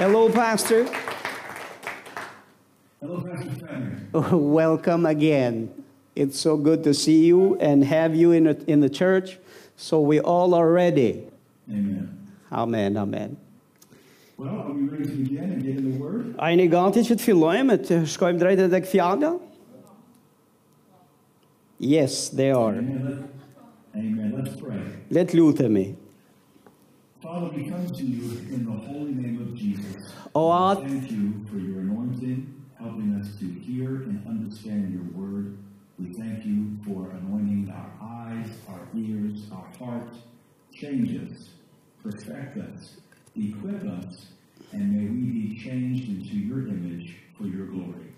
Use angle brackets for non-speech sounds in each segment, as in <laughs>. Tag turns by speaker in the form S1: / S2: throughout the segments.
S1: Hello, Pastor.
S2: Hello, Pastor Samuel.
S1: <laughs> Welcome again. It's so good to see you and have you in, the- in the church. So we all are ready.
S2: Amen.
S1: Amen, amen.
S2: Well, are we ready to begin and get in the Word?
S1: A jeni gati që të fillojmë të shkojmë drejt tek fjala? Yes, they are.
S2: Amen. Amen. Let's pray.
S1: Le të lutemi.
S2: Father, we come to you in the holy name of Jesus.
S1: O Atë,
S2: Thank you for your anointing, helping us to hear and understand your Word. We thank you for anointing our eyes, our ears, our hearts. Change us, perfect us, equip us, and may we be changed into your image for your glory.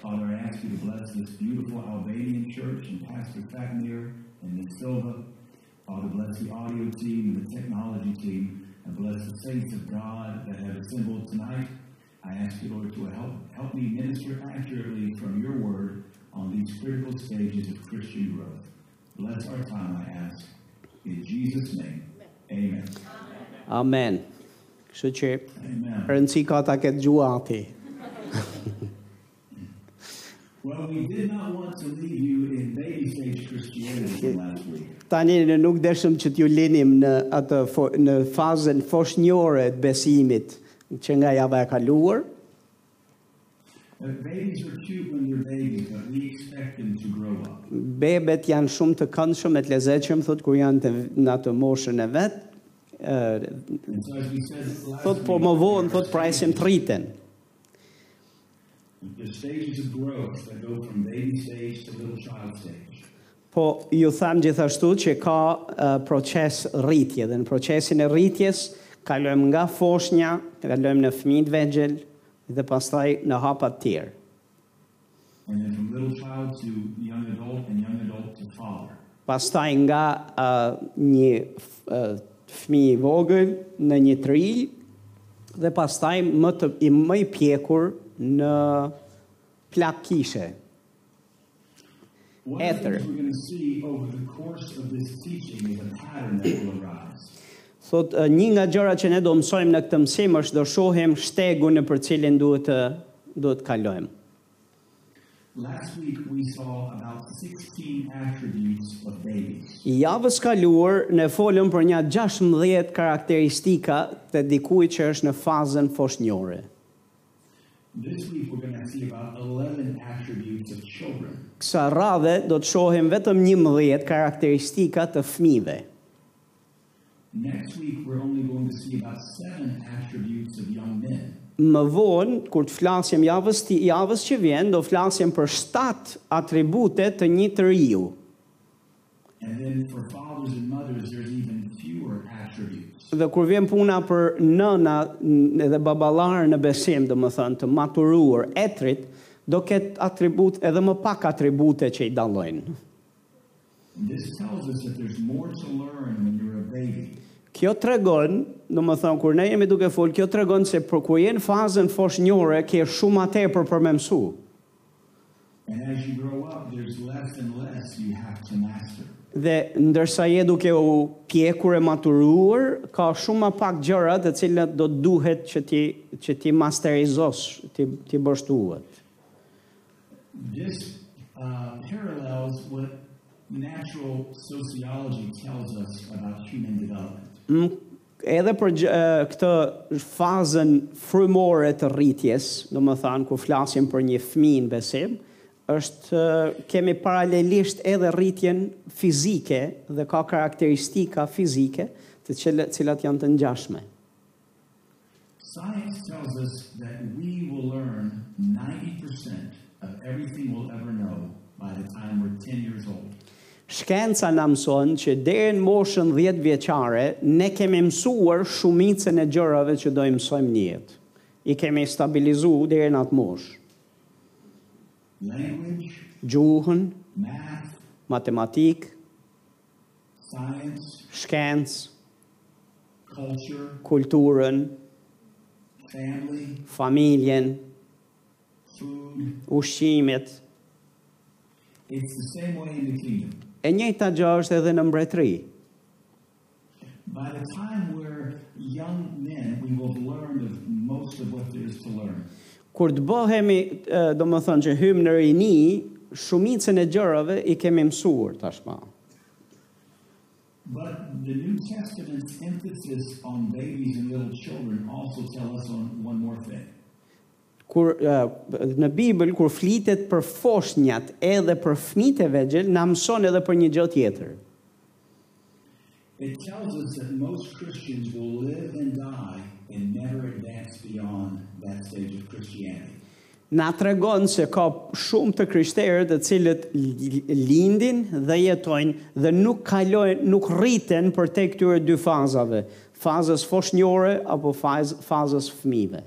S2: Father, I ask you to bless this beautiful Albanian church and Pastor Fatmir and Ms. Silva. Father, bless the audio team and the technology team, and bless the saints of God that have assembled tonight. I ask you, Lord, to help, help me minister accurately from your word on these critical stages of Christian growth. Bless our time, I ask. In Jesus' name, amen.
S1: amen. Kështu që
S2: Amen.
S1: rëndësi ka ta ketë gjuati.
S2: Well, we did not want to leave you in baby stage Christianity from last week.
S1: Tani ne nuk deshëm që t'ju linim në atë fo, në fazën foshnjore të besimit që nga java e kaluar.
S2: Uh, babies are cute when they're babies, but we expect them to grow up.
S1: Bebet janë shumë të këndshëm e të lezetshëm thot kur janë të, në atë moshën e vet. ë
S2: And so, as we said last
S1: thot po
S2: week,
S1: më vonë thot prajsim të rriten.
S2: The stages of growth that go from baby stage to little child stage.
S1: Po ju tham gjithashtu që ka ë, proces rritje dhe në procesin e rritjes kalojmë nga foshnja, kalojmë në fëmijë të vegjël dhe pastaj në hapa të tjerë.
S2: And then from little child to young adult and young adult to father.
S1: pastaj nga uh, një uh, fëmijë i vogël në një tril dhe pastaj më të i më i pjekur në plak kishe.
S2: One of the
S1: Ether.
S2: things we're going to see over the course of this teaching is a pattern that will arise.
S1: Thot uh, një nga gjërat që ne do mësojmë në këtë mësim është do shohim shtegun në për cilin duhet të duhet të kalojmë.
S2: Last week we saw about 16 attributes of babies.
S1: I javës kaluar ne folëm për një 16 karakteristika të dikujt që është në fazën foshnjore.
S2: This week we're going to see about 11 attributes of children.
S1: Kësa radhe do të shohim vetëm 11 karakteristika të fëmijëve.
S2: Next week we're only going to see about 7 attributes of young men.
S1: Më vonë, kur të flasim javës, ti, javës që vjen, do flasim për 7 atribute të një të riu.
S2: And then for fathers and mothers, there's even fewer attributes.
S1: Dhe kur vjen puna për nëna n- dhe babalarë në besim, do më thënë, të maturuar, etrit, do ketë atribut edhe më pak atribute që i dalojnë.
S2: And this tells us that there's more to learn when you're a baby.
S1: Kjo të regon, do më thënë, kur ne jemi duke folë, kjo të regon se për kur jenë fazën foshnjore, ke shumë atë për për me mësu.
S2: And as you grow up, there's less and less you have to master.
S1: Dhe ndërsa je duke u pjekur e maturuar, ka shumë më pak gjëra të cilat do të duhet që ti që ti masterizosh, ti ti bësh duhet.
S2: This uh, parallels what natural sociology tells us about human development.
S1: Mm, Edhe për gjë- e, këtë fazën frymore të rritjes, do më thanë, ku flasim për një fëmijë në besim, është e, kemi paralelisht edhe rritjen fizike dhe ka karakteristika fizike të cilat, cilat janë të ngjashme.
S2: Science tells us that we will learn 90% of everything we'll ever know by the time we're 10 years old.
S1: Shkenca na mëson që deri në moshën 10 vjeçare ne kemi mësuar shumicën e gjërave që do i mësojmë në jetë. I kemi stabilizuar deri në atë moshë.
S2: Language,
S1: Gjuhën,
S2: math,
S1: matematikë,
S2: science,
S1: shkencë,
S2: culture,
S1: kulturën,
S2: family,
S1: familjen,
S2: food.
S1: ushqimet.
S2: It's the same way in the kingdom.
S1: E njëjta gjë është edhe në mbretëri.
S2: By the time we're young men, we will have learned of most of what there is to learn.
S1: Kur të bëhemi, ë, do më thënë që hymë në rini, shumicën e gjërave i kemi mësuar tashma.
S2: But the New Testament's emphasis on babies and little children also tell us on one more thing.
S1: Kur, ë, në Bibël, kur flitet për foshnjat edhe për fmit e vegjel, na mëson edhe për një gjë tjetër.
S2: It tells us that most Christians will live and die and never advance beyond that stage of Christianity.
S1: Na tregon se ka shumë të krishterë të cilët li- lindin dhe jetojnë dhe nuk kalojnë, nuk rriten për te këtyre dy fazave, fazës foshnjore apo faz, fazës fëmijëve.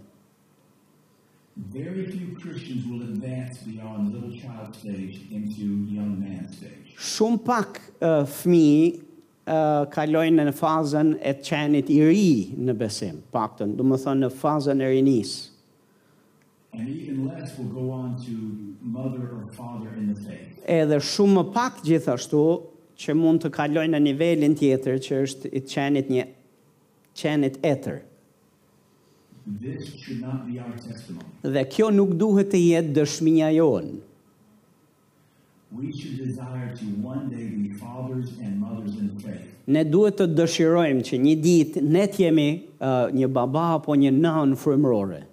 S2: Very few Christians will advance beyond little child stage into young man stage.
S1: Shumë pak uh, fëmijë uh, kalojnë në fazën e qenit i ri në besim, paktën, do të thonë në fazën e rinisë.
S2: And even less will go on to mother or father in the faith.
S1: Edhe shumë më pak gjithashtu që mund të kalojnë në nivelin tjetër që është i qenit një qenit etër.
S2: This should not be our testimony.
S1: Dhe kjo nuk duhet të jetë dëshmia jonë.
S2: We should desire to one day be fathers and mothers in the faith.
S1: Ne duhet të dëshirojmë që një ditë ne të jemi uh, një baba apo një nën frymërore.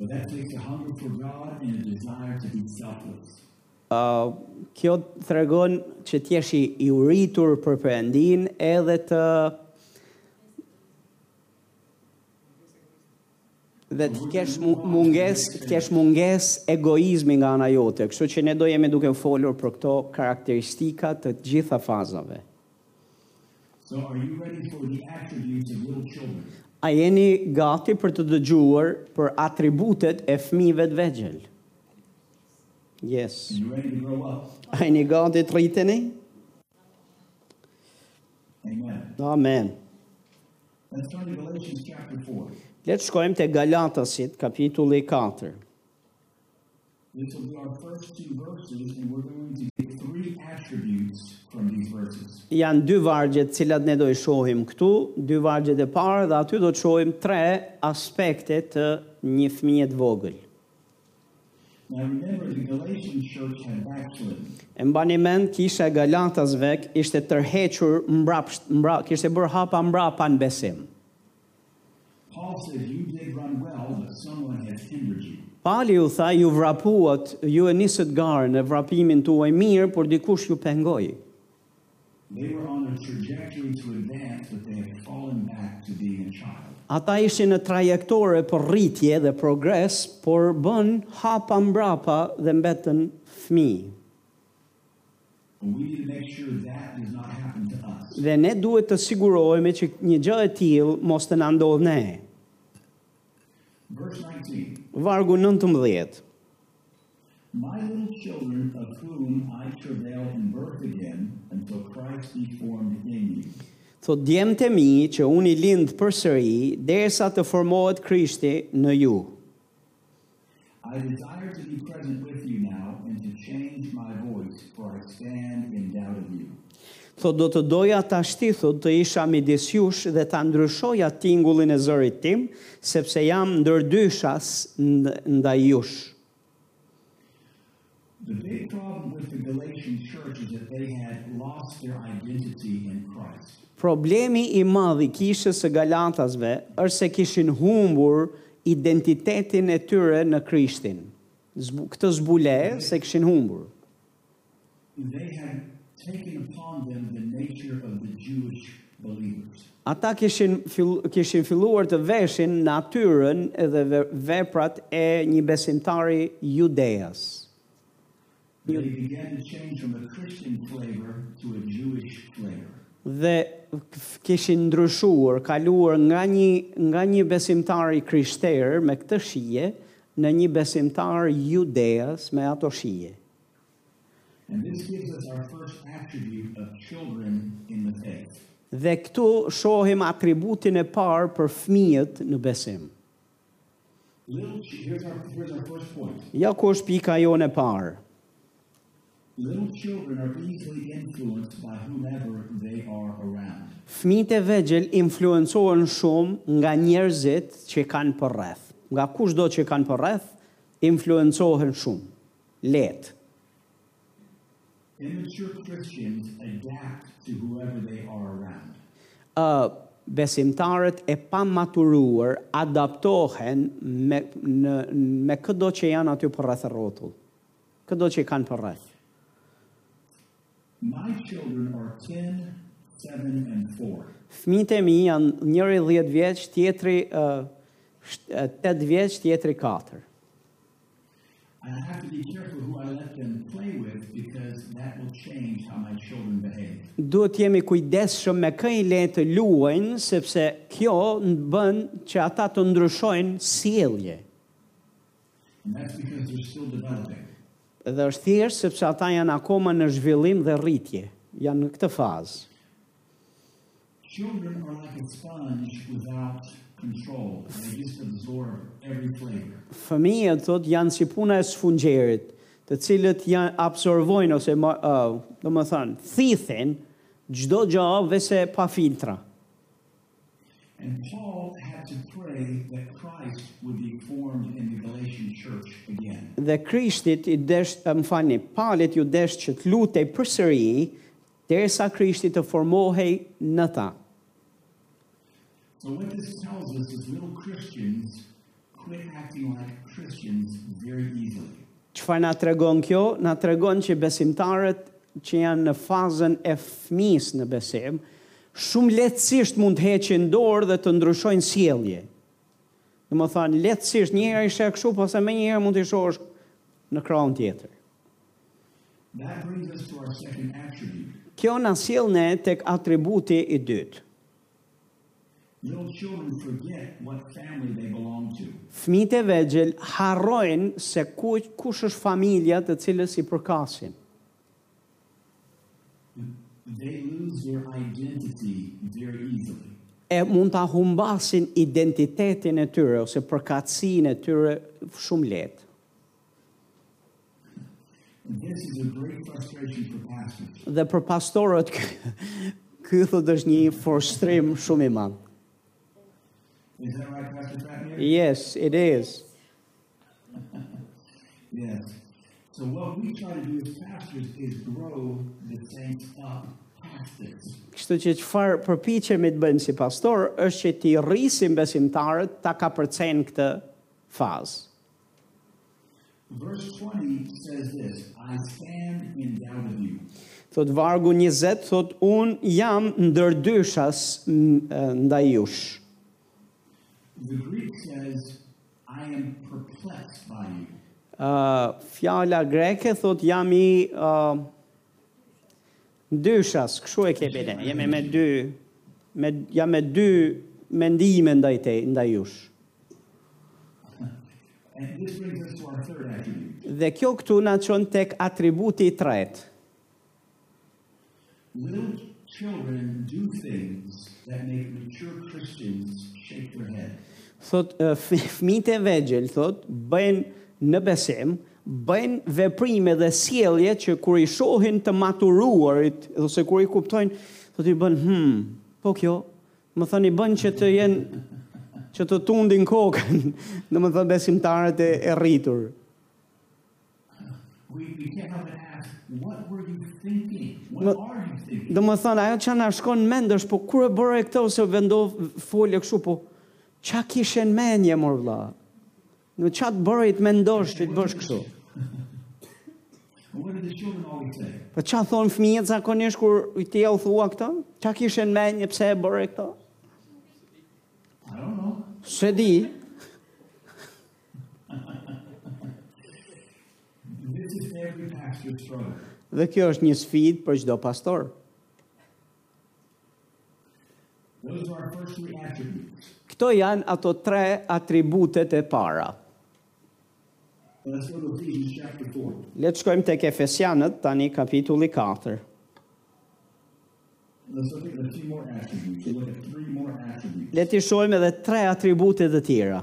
S2: But that takes a hunger for God and a desire to be selfless.
S1: Uh, kjo tregon që të jesh i i uritur për Perëndin edhe të dhe të kesh mu- mungesë, të kesh mungesë egoizmi nga ana jote. Kështu që ne do jemi duke folur për këto karakteristika të gjitha fazave.
S2: So, are you ready for the attributes of little children?
S1: A jeni gati për të dëgjuar për atributet e fëmijëve të vegjël? Yes.
S2: Are you ready to grow up?
S1: A jeni gati të rriteni?
S2: Amen.
S1: Amen.
S2: Let's turn to Galatians chapter 4.
S1: Le të shkojmë te Galatasit, kapitulli 4.
S2: This will be our first two verses, and we're going to get three attributes from these verses.
S1: Janë dy vargje të cilat ne do i shohim këtu, dy vargjet e parë dhe aty do të shohim tre aspekte të një fëmije të vogël.
S2: Now, remember, the Galatian church had backslidden.
S1: E mbani mend kisha e Galatasve ishte tërhequr mbrapsht, mbra, kishte bërë hapa mbrapa në besim.
S2: Paul says, You did run well, but someone has hindered you.
S1: Pali u tha ju vrapuat, ju e nisët garën e vrapimin tuaj mirë, por dikush ju pengoi.
S2: They were on a trajectory to advance, but they had fallen back to being a child.
S1: Ata ishin në trajektore për rritje dhe progres, por bën hapa mbrapa dhe mbetën fëmijë.
S2: And we need to make sure that does not happen to us.
S1: Dhe ne duhet të sigurohemi që një gjë e tillë mos të na ndodhë ne.
S2: Verse 19
S1: Vargu 19.
S2: My little children, of whom I travail in birth again until Christ be formed in you.
S1: Thot djemtë e mi që unë i lind përsëri derisa të formohet Krishti në ju.
S2: I desire to be present with you now and to change my voice, for I stand in doubt of you.
S1: Thot do të doja ta shti, thot të isha midis jush dhe ta ndryshoja tingullin e zërit tim, sepse jam ndërdyshas nd- ndaj jush.
S2: The big problem with the Galatian church is that they had lost their identity in Christ.
S1: Problemi i madh i kishës së Galatasve është se kishin humbur identitetin e tyre në Krishtin. Zbu, këtë zbule se kishin humbur.
S2: They had taken upon them the nature of the Jewish believers.
S1: Ata kishin, fill, kishin filluar të veshin natyrën edhe ve- veprat e një besimtari judeas.
S2: They began to change from a Christian flavor to a Jewish flavor.
S1: Dhe k- kishin ndryshuar, kaluar nga një, nga një besimtari krishterë me këtë shije në një besimtar judeas me ato shije.
S2: And this gives us our first attribute of children in the faith.
S1: Dhe këtu shohim atributin e parë për fëmijët në besim.
S2: Little, ch- here's, our, here's our first point.
S1: Ja ku është pika jonë e parë.
S2: Little children are easily influenced by whomever they are around.
S1: Fëmijët e vegjël influencohen shumë nga njerëzit që kanë për rreth. Nga kushdo që kanë për rreth, influencohen shumë. Lehtë.
S2: Immature Christians adapt to whoever they are around.
S1: ë besimtarët e pamaturuar adaptohen me në me çdo që janë aty për rreth e rrotull. Çdo që kanë për rreth.
S2: My children are 10, 7, and 4.
S1: Fëmijët e mi janë njëri 10 vjeç, tjetri ë sht- ë, 8 vjeç, tjetri 4.
S2: I have to be careful who I let them play with because that will change how my children behave.
S1: Duhet jemi kujdesshëm me kë i le të luajnë sepse kjo në bën që ata të ndryshojnë sjellje.
S2: And that's because they're still developing.
S1: Dhe është thjesht sepse ata janë akoma në zhvillim dhe rritje, janë në këtë fazë.
S2: Children are like a sponge without control. They just absorb every flavor.
S1: fëmijët thot janë si puna e sfungjerit, të cilët janë absorbojnë ose ma, uh, do më thënë, thithin gjdo gjë vese pa filtra.
S2: And Paul had to pray that Christ would be formed in the Galatian church again.
S1: Dhe Krishtit i desh, eh, më falni, palit ju desh që të lutej për sëri, derisa Krishti të formohej në ta.
S2: So, what this tells us is little Christians quit acting like Christians very easily.
S1: Qëfar na tregon kjo? Na tregon që besimtarët që janë në fazën e fëmis në besim, shumë letësisht mund të heqin dorë dhe të ndryshojnë sjellje. Në më thanë, letësisht njëherë ishe kështu, pastaj më njëherë mund të shohësh në krahun tjetër.
S2: That brings us to our second attribute.
S1: Kjo na sjell ne tek atributi i dytë.
S2: Little children forget what family they belong to.
S1: Fëmijët e vegjël harrojnë se ku, kush është familja të cilës i përkasin.
S2: They lose their identity very easily.
S1: E mund ta humbasin identitetin e tyre ose përkatësinë e tyre shumë lehtë.
S2: This is a great frustration for pastors.
S1: Dhe për pastorët, ky- <laughs> ky thot është një frustrim shumë i madh.
S2: Is that right, Pastor Fatmir?
S1: Yes, it is.
S2: Yes. So what we try to do as pastors is grow the saints up past this.
S1: Kështu që çfarë përpiqemi të bëjmë si pastor është që ti rrisim besimtarët ta kapërcejnë këtë fazë.
S2: Verse 20 says this, I stand in doubt of you.
S1: Thot vargu 20, thot un jam ndërdyshas n- eh, ndaj jush.
S2: The Greek says, I am perplexed by you.
S1: Uh, fjala greke thot jam i uh, dyshas, kështu e kemi ne. Jemi me dy me jam me dy mendime ndaj te, ndaj jush.
S2: And this brings us to our third attribute.
S1: Dhe kjo këtu na çon tek atributi i tretë.
S2: Little children do things that make mature Christians shake their head.
S1: Thot uh, f- fëmijët e vegjël thot bëjnë në besim bëjnë veprime dhe sjellje që kur i shohin të maturuarit ose kur i kuptojnë, thot i bën hmm, po kjo, më thënë i bën që të jenë që të tundin kokën, <laughs> në më thënë besimtarët e, e rritur.
S2: We, we can't help but ask, what were you thinking? What
S1: Well-
S2: are you thinking?
S1: Do më thënë, ajo që na shkon mend është, po kur e bëre këtë ose vendov folje kështu, po qa kishe në mendje, mor vlla? Në qa të bëre i të mendosh që të bësh kështu?
S2: And what do the children always say?
S1: Po qa thonë fëmijët zakonisht kur i ti u thua këto? Qa kishe në menje pse e bëre këto?
S2: I don't know.
S1: Se di.
S2: This is every pastor's struggle.
S1: Dhe kjo është një sfidë për çdo pastor.
S2: Those are our first three attributes.
S1: Këto janë ato tre atributet e para.
S2: Let's go to Ephesians chapter 4.
S1: Le të shkojmë tek Efesianët tani kapitulli 4.
S2: Let's look at a few more attributes. We'll look at three more attributes.
S1: Le të shohim edhe tre atribute të tjera.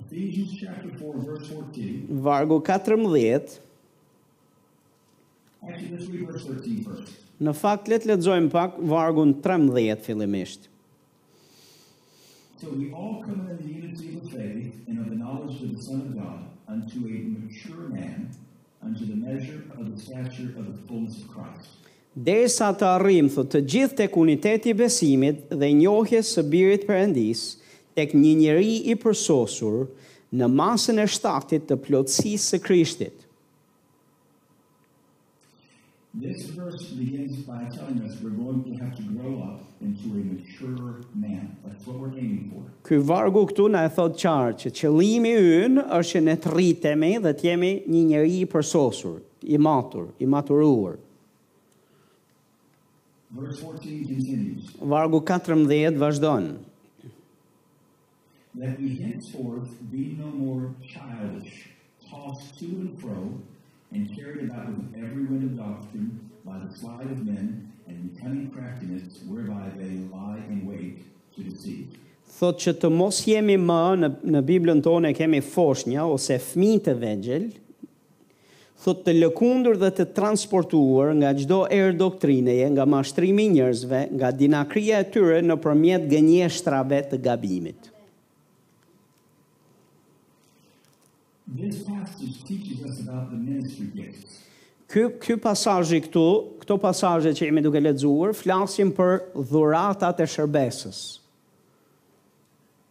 S2: Ephesians chapter 4, verse 14.
S1: vargu 14,
S2: Actually, let's read verse 13 first.
S1: në fakt le të lexojmë pak vargun 13 fillimisht.
S2: So we all come into the unity of the faith and of the knowledge of the Son of God unto a mature man, unto the measure of the stature of the fullness of Christ.
S1: Derisa të arrim, thot, të gjithë tek uniteti i besimit dhe njohjes së birit perëndis, tek një njeri i përsosur në masën e shtatit të plotësisë së Krishtit.
S2: This verse begins by telling us we're going to have to grow up into a mature man. That's what we're aiming for.
S1: Ky vargu këtu na e thot qartë që qëllimi ynë është që ne të rritemi dhe të jemi një njeri i përsosur, i matur, i maturuar.
S2: Verse 14 continues
S1: Vargu 14 vazhdon.
S2: that we henceforth be no more childish, tossed to and fro, and carried about with every wind of doctrine by the slide of men and cunning craftiness whereby they lie in wait to deceive.
S1: Thot që të mos jemi më në, në Biblën tonë e kemi foshnja ose fëmijë të vegjël, thot të lëkundur dhe të transportuar nga çdo erë doktrineje, nga mashtrimi i njerëzve, nga dinakria e tyre nëpërmjet gënjeshtrave të gabimit.
S2: This passage teaches us about the ministry gifts.
S1: Ky ky pasazhi këtu, këto pasazhe që jemi duke lexuar, flasin për dhuratat e shërbesës.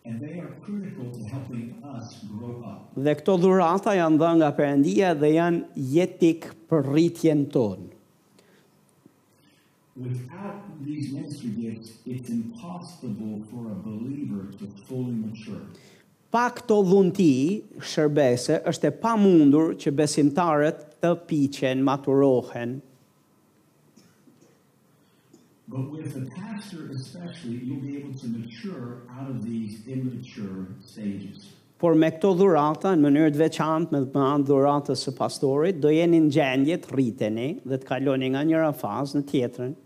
S2: And they are critical to helping us grow up.
S1: Dhe këto dhurata janë dhënë nga Perëndia dhe janë jetik për rritjen tonë.
S2: Without these ministry gifts, it's impossible for a believer to fully mature.
S1: pa këto dhunti shërbese është e pamundur që besimtarët të piqen, maturohen.
S2: But with the pastor especially, you'll be able to mature out of these immature stages.
S1: Por me këto dhurata, në mënyrë të veçantë, me me anë dhuratës së pastorit, do jeni në gjendje të rriteni dhe të kaloni nga njëra fazë në tjetrën.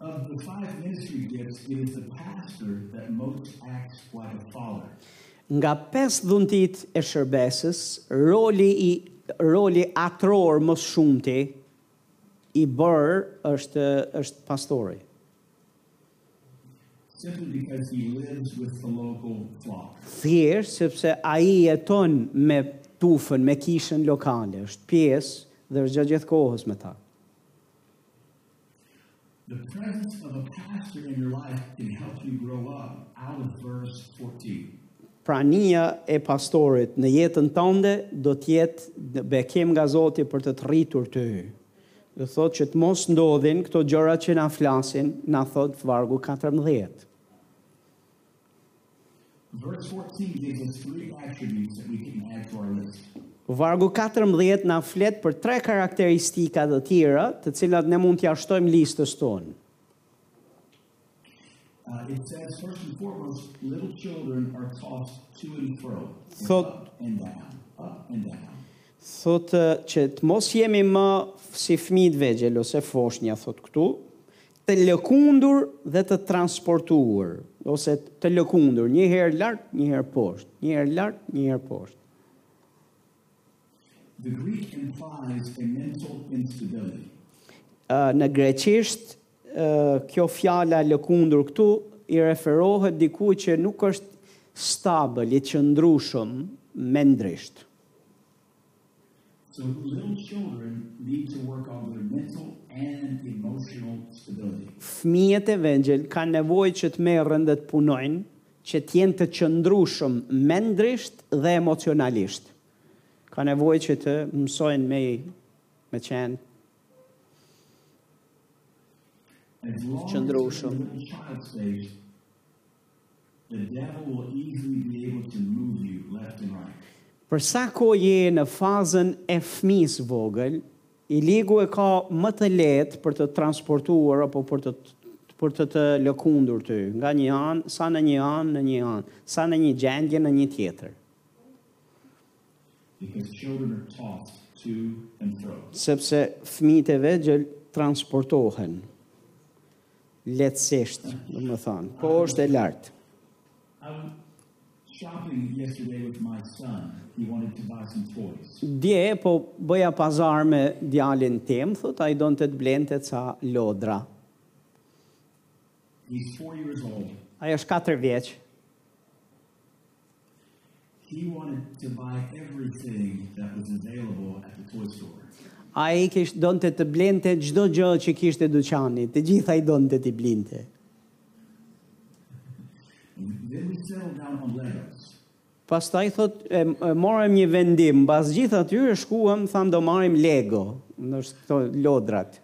S2: Of the five ministry gifts, it is the pastor that most acts like a father.
S1: Nga pesë dhuntit e shërbesës, roli i roli atror më shumëti i bërë është është pastori.
S2: Simply because he lives with the local flock.
S1: thjesht sepse ai jeton me tufën, me kishën lokale, është pjesë dhe është gjatë gjithë kohës me ta.
S2: The presence of a pastor in your life can help you grow up out of verse 14.
S1: Prania Pra, e pastorit në jetën tënde do të jetë bekim nga Zoti për të të rritur ty. Do thotë që të mos ndodhin këto gjëra që na flasin, na thot vargu 14.
S2: Verse 14 gives us three attributes that we can add to our list.
S1: Vargu 14 na flet për tre karakteristika të tjera, të cilat ne mund t'ja shtojmë listës tonë.
S2: Uh, it says, first and foremost, little children are tossed to and fro, and
S1: Thought-
S2: up and down, up and down.
S1: thotë që të mos jemi më si fëmijë të vegjël ose foshnja thotë këtu, të lëkundur dhe të transportuar ose të lëkundur, një herë lart, një herë poshtë, një herë lart, një herë poshtë.
S2: The Greek implies a mental instability.
S1: Ë, Në greqisht, ë, kjo fjala lëkundur këtu i referohet diku që nuk është stabil, i qëndrueshëm mendrisht.
S2: So little children need to work on their mental and emotional stability.
S1: fëmijët e vegjël kanë nevojë që të merren dhe të punojnë, që të jenë të qëndrueshëm mendrisht dhe emocionalisht. Ka nevojë që të mësojnë me me qenë.
S2: As long as they're in the
S1: Qëndrueshëm.
S2: little child stage, the devil will easily be able to move you left and right.
S1: Për sa kohë je në fazën e fëmisë vogël, i ligu e ka më të lehtë për të transportuar apo për të për të të lëkundur ty, nga një anë, sa në një anë, në një anë, sa në një gjendje, në një tjetër.
S2: Because children are tossed to and fro.
S1: sepse fëmijët e vegjël transportohen lehtësisht, do të thënë, po është e lartë.
S2: Um, shopping yesterday with my son. He wanted to buy some toys.
S1: Dje, po bëja pazar me djalin tim, thot, a i donë të të blente ca lodra.
S2: He's four years old.
S1: Ajo është 4 vjeqë.
S2: He wanted to buy everything that was available at the toy store.
S1: A i kishtë donë të të blente gjdo gjë që kishtë e duqani, të gjitha i donë të t'i blinte.
S2: And then we settled down on Legos.
S1: Pastaj thot, e, e morëm një vendim, bas gjithë atyre shkuëm, thamë do marim Lego, nështë këto lodrat.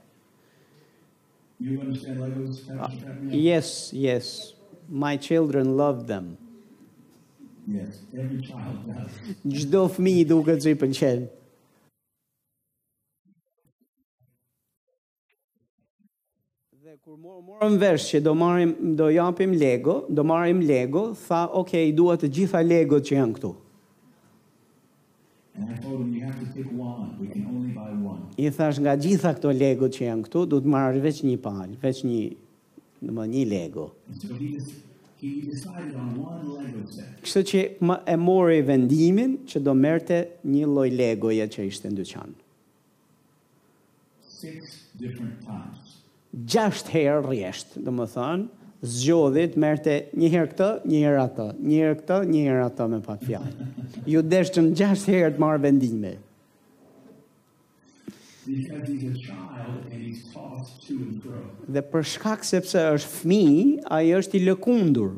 S2: You understand Legos? Pastor Chapman?
S1: Yes, yes, my children love them.
S2: Yes, every child does.
S1: Gjdo fmi i duke që i pëlqen. Dhe kur mor- morëm vesh që do marim, do japim Lego, do marim Lego, tha, okej, dua të gjitha Lego që janë këtu.
S2: And I told him, you have to pick one. We can only buy one.
S1: I thash nga gjitha këto Lego që janë këtu, du të marrësh veç një palë, veç një, në më një Lego.
S2: And so he just he decided on one Lego set.
S1: Kështu që më e mori vendimin që do merte një loj Legoje që ishte në dyqan.
S2: Six different times.
S1: Gjasht herë rjesht, do më thënë, zgjodhit merte një herë këtë, një herë atë, një herë këtë, një herë atë me pak fjalë. Ju deshtën gjasht herë të marrë vendime.
S2: Because he's a child and he's tossed to and fro.
S1: Dhe për shkak sepse është fëmijë, ai është i lëkundur,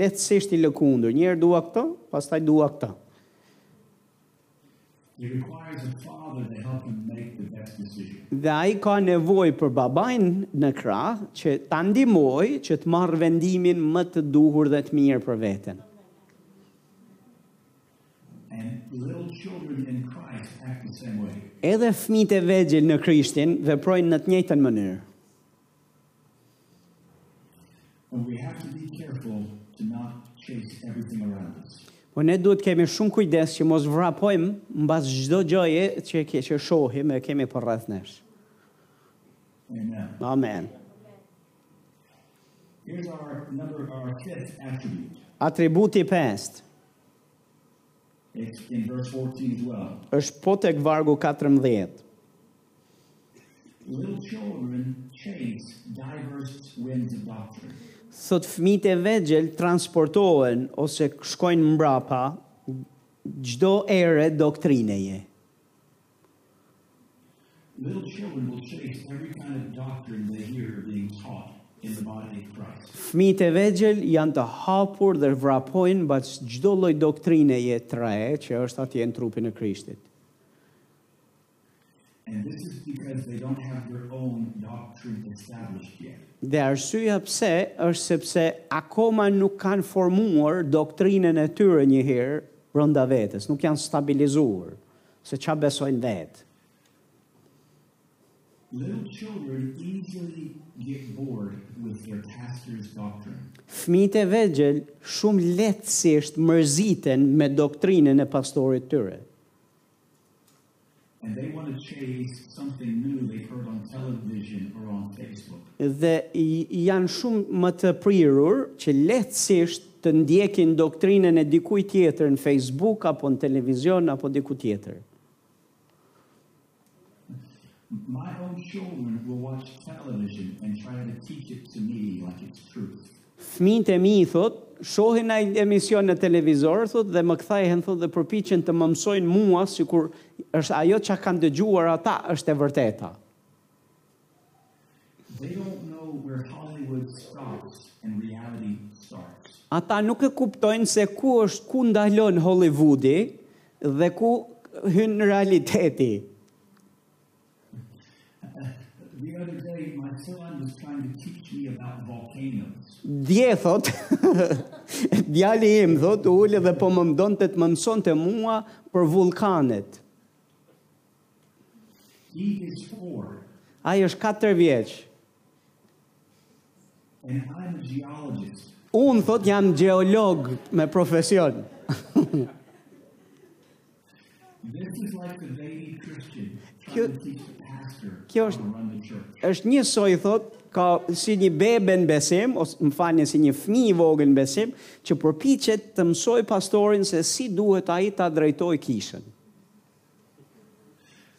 S1: lehtësisht i lëkundur. Një herë dua këtë, pastaj dua këtë.
S2: It requires a father to help him make the best decision.
S1: Dhe ai ka nevojë për babain në krah që ta ndihmojë që të marrë vendimin më të duhur dhe të mirë për veten.
S2: And little children in Christ act the same way.
S1: Edhe fëmijët e vegjël në Krishtin veprojnë në të njëjtën mënyrë.
S2: And we have to be careful to not chase everything around us.
S1: Po ne duhet kemi shumë kujdes që mos vrapojmë mbas çdo gjëje që ke- që shohim e kemi për rreth nesh.
S2: Amen.
S1: Amen.
S2: Here's our number, our fifth attribute.
S1: Atributi 5
S2: It's in verse 14 as well.
S1: është po tek vargu 14.
S2: Little children chase diverse winds of doctrine.
S1: Thot fëmijët e vegjël transportohen ose shkojnë mbrapa çdo ere doktrineje.
S2: Little children will chase every kind of doctrine they hear being taught in the body of Christ.
S1: Fëmijët e vegjël janë të hapur dhe vrapojnë bash çdo lloj doktrineje të re që është atje në trupin e Krishtit.
S2: And this is because they don't have their own doctrine established yet.
S1: Dhe arsyeja pse është sepse akoma nuk kanë formuar doktrinën e tyre një herë brenda vetes, nuk janë stabilizuar se çfarë besojnë vetë.
S2: Little children easily get bored with their pastor's doctrine.
S1: Fëmijët e vegjël shumë lehtësisht mërziten me doktrinën e pastorit tyre.
S2: And they want to chase something new they've heard on television or on Facebook.
S1: Dhe i- janë shumë më të prirur që lehtësisht të ndjekin doktrinën e dikujt tjetër në Facebook apo në televizion apo diku tjetër.
S2: My own children will watch television and try to teach it to me like it's truth.
S1: Fëmijët e mi thot, shohin ai emision në televizor thot dhe më kthehen thot dhe përpiqen të më mësojnë mua sikur është ajo çka kanë dëgjuar ata është e vërteta.
S2: They don't know where Hollywood stops and reality starts.
S1: Ata nuk e kuptojnë se ku është ku ndalon Hollywoodi dhe ku hyn realiteti.
S2: The other day, my son was trying to teach me about volcanoes.
S1: Dje thot, <laughs> djali im thot, u ule dhe po më mdonte të më mësonte mua për vulkanet.
S2: He is four,
S1: Ai është 4 vjeç.
S2: and I'm a geologist.
S1: Unë thot jam gjeolog me profesion.
S2: This is like the baby Christian
S1: Kjo-
S2: trying to teach the pastor
S1: kjo
S2: how to
S1: është-
S2: run the church.
S1: është njësoj thot ka si një bebe në besim, ose më falni si një fëmijë i vogël në besim, që përpiqet të mësoj pastorin se si duhet ai ta drejtoj kishën.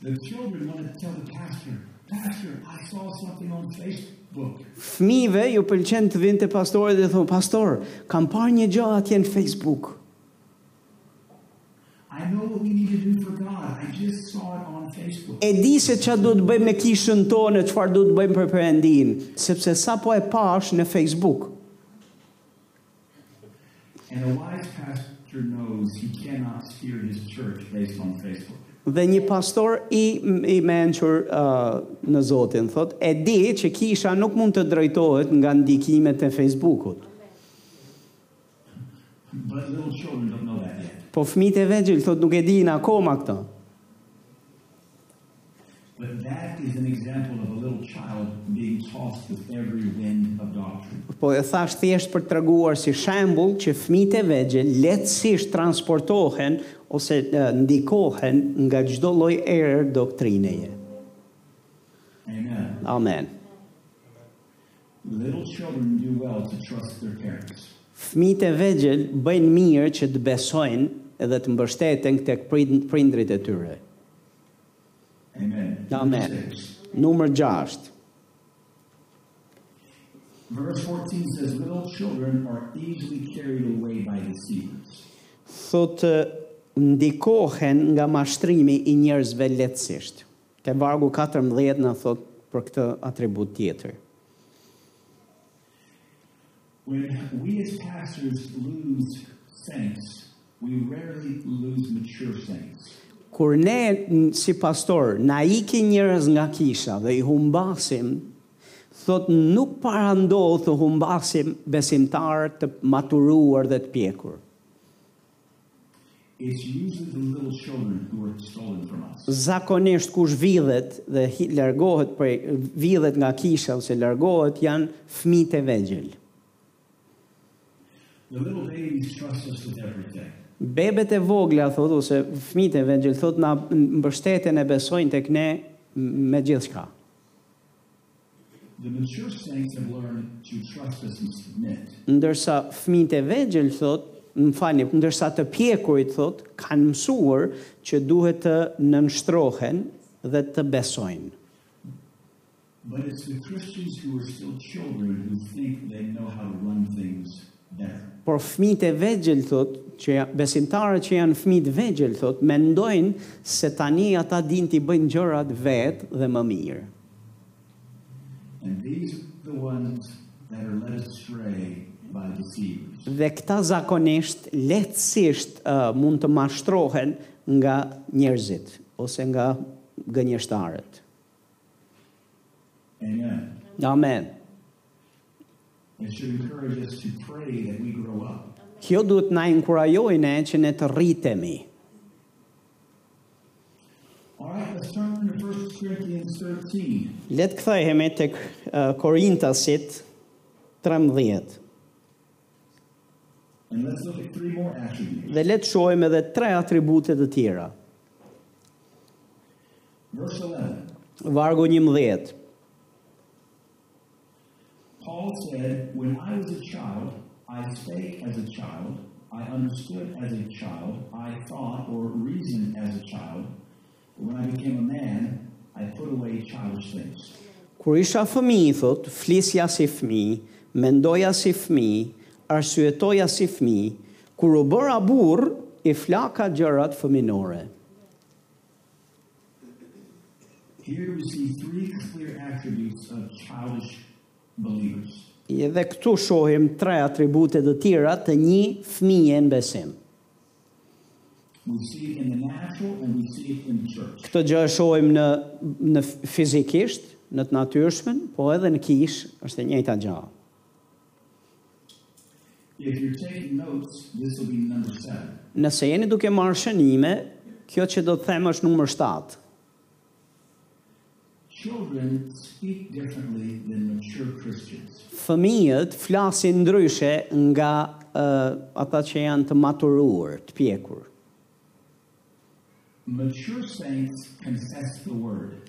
S2: The children wanted to tell the pastor, Pastor, I saw something on Facebook.
S1: Fëmijëve ju pëlqen të vinë te pastori dhe thonë, "Pastor, kam parë një gjë atje në Facebook."
S2: I know what we need to do for God. I just saw it on Facebook.
S1: E di se çfarë do të bëjmë me kishën tonë, çfarë do të bëjmë për Perëndin, sepse sapo e pash në Facebook.
S2: And a wise pastor knows he cannot steer his church based on Facebook.
S1: Dhe një pastor i, i menqër uh, në Zotin, thot, e di që kisha nuk mund të drejtohet nga ndikimet e Facebookut.
S2: But little children don't know that yet.
S1: Po fëmijët e vegjël thot nuk e dinë akoma këtë.
S2: But that is an example of a little child being tossed with every wind of doctrine.
S1: Po e thash thjesht për të treguar si shembull që fëmijët e vegjël lehtësisht transportohen ose uh, ndikohen nga çdo lloj erë doktrineje.
S2: Amen.
S1: Amen.
S2: Little children do well to trust their parents.
S1: Fëmijët e vegjël bëjnë mirë që të besojnë edhe të mbështeten tek prind- prindrit e tyre.
S2: Amen.
S1: Amen.
S2: Verse six.
S1: Numër 6.
S2: Verse 14 says, Little children are easily carried away by deceivers.
S1: Thot eh, ndikohen nga mashtrimi i njerëzve lehtësisht. Te vargu 14 na thot për këtë atribut tjetër.
S2: When we as pastors lose saints, we rarely lose mature saints.
S1: Kur ne n- si pastor na ikin njerëz nga kisha dhe i humbasim, thot nuk parandodh të humbasim besimtarë të maturuar dhe të pjekur.
S2: It's usually the little children who are stolen from us.
S1: Zakonisht kush vidhet dhe hi- largohet prej vidhet nga kisha ose largohet janë fëmijët e vegjël.
S2: The little babies trust us with everything.
S1: Bebet e vogla thot ose fëmijët e vegjël thot na mbështeten e besojnë tek ne me gjithçka.
S2: The mature saints have learned to trust us and submit.
S1: Ndërsa fëmijët e vegjël thot, më falni, ndërsa të pjekurit thot kanë mësuar që duhet të nënshtrohen dhe të besojnë.
S2: But it's the Christians who are still children who think they know how to run things better.
S1: Por fëmijët e vegjël thot që ja- besimtarët që janë fëmijë të vegjël thot mendojnë se tani ata dinë t'i bëjnë gjërat vetë dhe më mirë.
S2: And these are the ones that are led astray by deceivers.
S1: Dhe këta zakonisht lehtësisht uh, mund të mashtrohen nga njerëzit ose nga gënjeshtarët.
S2: Amen.
S1: Amen.
S2: It should encourage us to pray that we grow up.
S1: Kjo duhet na inkurajojë ne që ne të rritemi.
S2: All right, let's turn to 1 Corinthians 13.
S1: Le të kthehemi tek uh, Korintasit 13
S2: And let's look at three more attributes.
S1: dhe le të shohim edhe tre atribute të tjera.
S2: Verse 11.
S1: Vargu 11.
S2: Paul said, When I was a child, I spake as a child, I understood as a child, I thought or reasoned as a child. But when I became a man, I put away childish things.
S1: Kur isha fëmijë, thot, flisja si fëmijë, mendoja si fëmijë, arsyetoja si fëmijë, kur u bëra burr, i flaka gjërat fëminore.
S2: Here we see three clear attributes of childish believers.
S1: Edhe këtu shohim tre atribute të tjera të një fëmije në besim.
S2: We see it in the natural and we see it in church.
S1: Këtë gjë e shohim në në fizikisht, në të natyrshmen, po edhe në kish është e njëjta gjë.
S2: If you're taking notes, this will be number seven.
S1: Nëse jeni duke marrë shënime, kjo që do të them është numër 7.
S2: Children speak differently than mature Christians.
S1: Fëmijët flasin ndryshe nga uh, ata që janë të maturuar, të pjekur.
S2: Mature saints confess the word.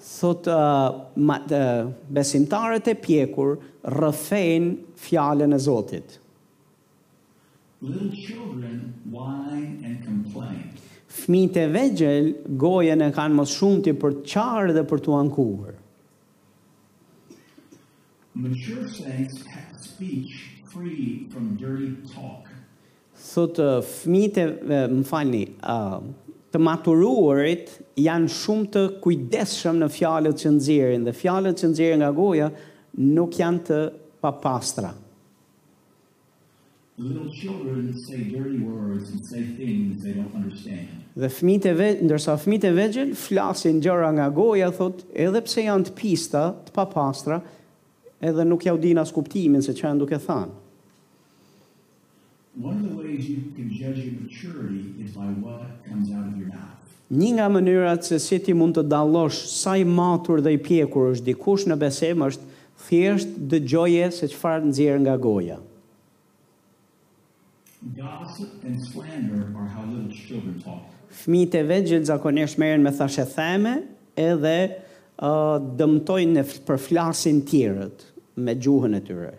S1: thot uh, ma, uh, besimtarët e pjekur rrëfejnë fjalën e Zotit.
S2: Little children whine and complain.
S1: Fëmijët e vegjël gojen e kanë mos shumëti për të qarë dhe për të ankuar.
S2: Mature saints have speech free from dirty talk.
S1: Thot uh, fëmijët e e, më falni, uh, të maturuarit janë shumë të kujdesshëm në fjalët që nxjerrin dhe fjalët që nxjerrin nga goja nuk janë të papastra.
S2: Little children say dirty words and say things they don't understand.
S1: Dhe fëmijët e vegjël, ndërsa fëmijët e vegjël flasin gjëra nga goja, thot, edhe pse janë të pista, të papastra, edhe nuk ja u din as kuptimin se çfarë janë duke thënë.
S2: One of the ways you can judge your maturity is by what comes out of your mouth.
S1: Një nga mënyrat se si ti mund të dallosh sa i matur dhe i pjekur është dikush në besim është thjesht dëgjoje se çfarë nxjerr nga goja.
S2: Gossip and slander are how little children talk.
S1: Fëmijët e vegjël zakonisht merren me thashe theme edhe uh, dëmtojnë në f- për flasin tjerët me gjuhën e tyre.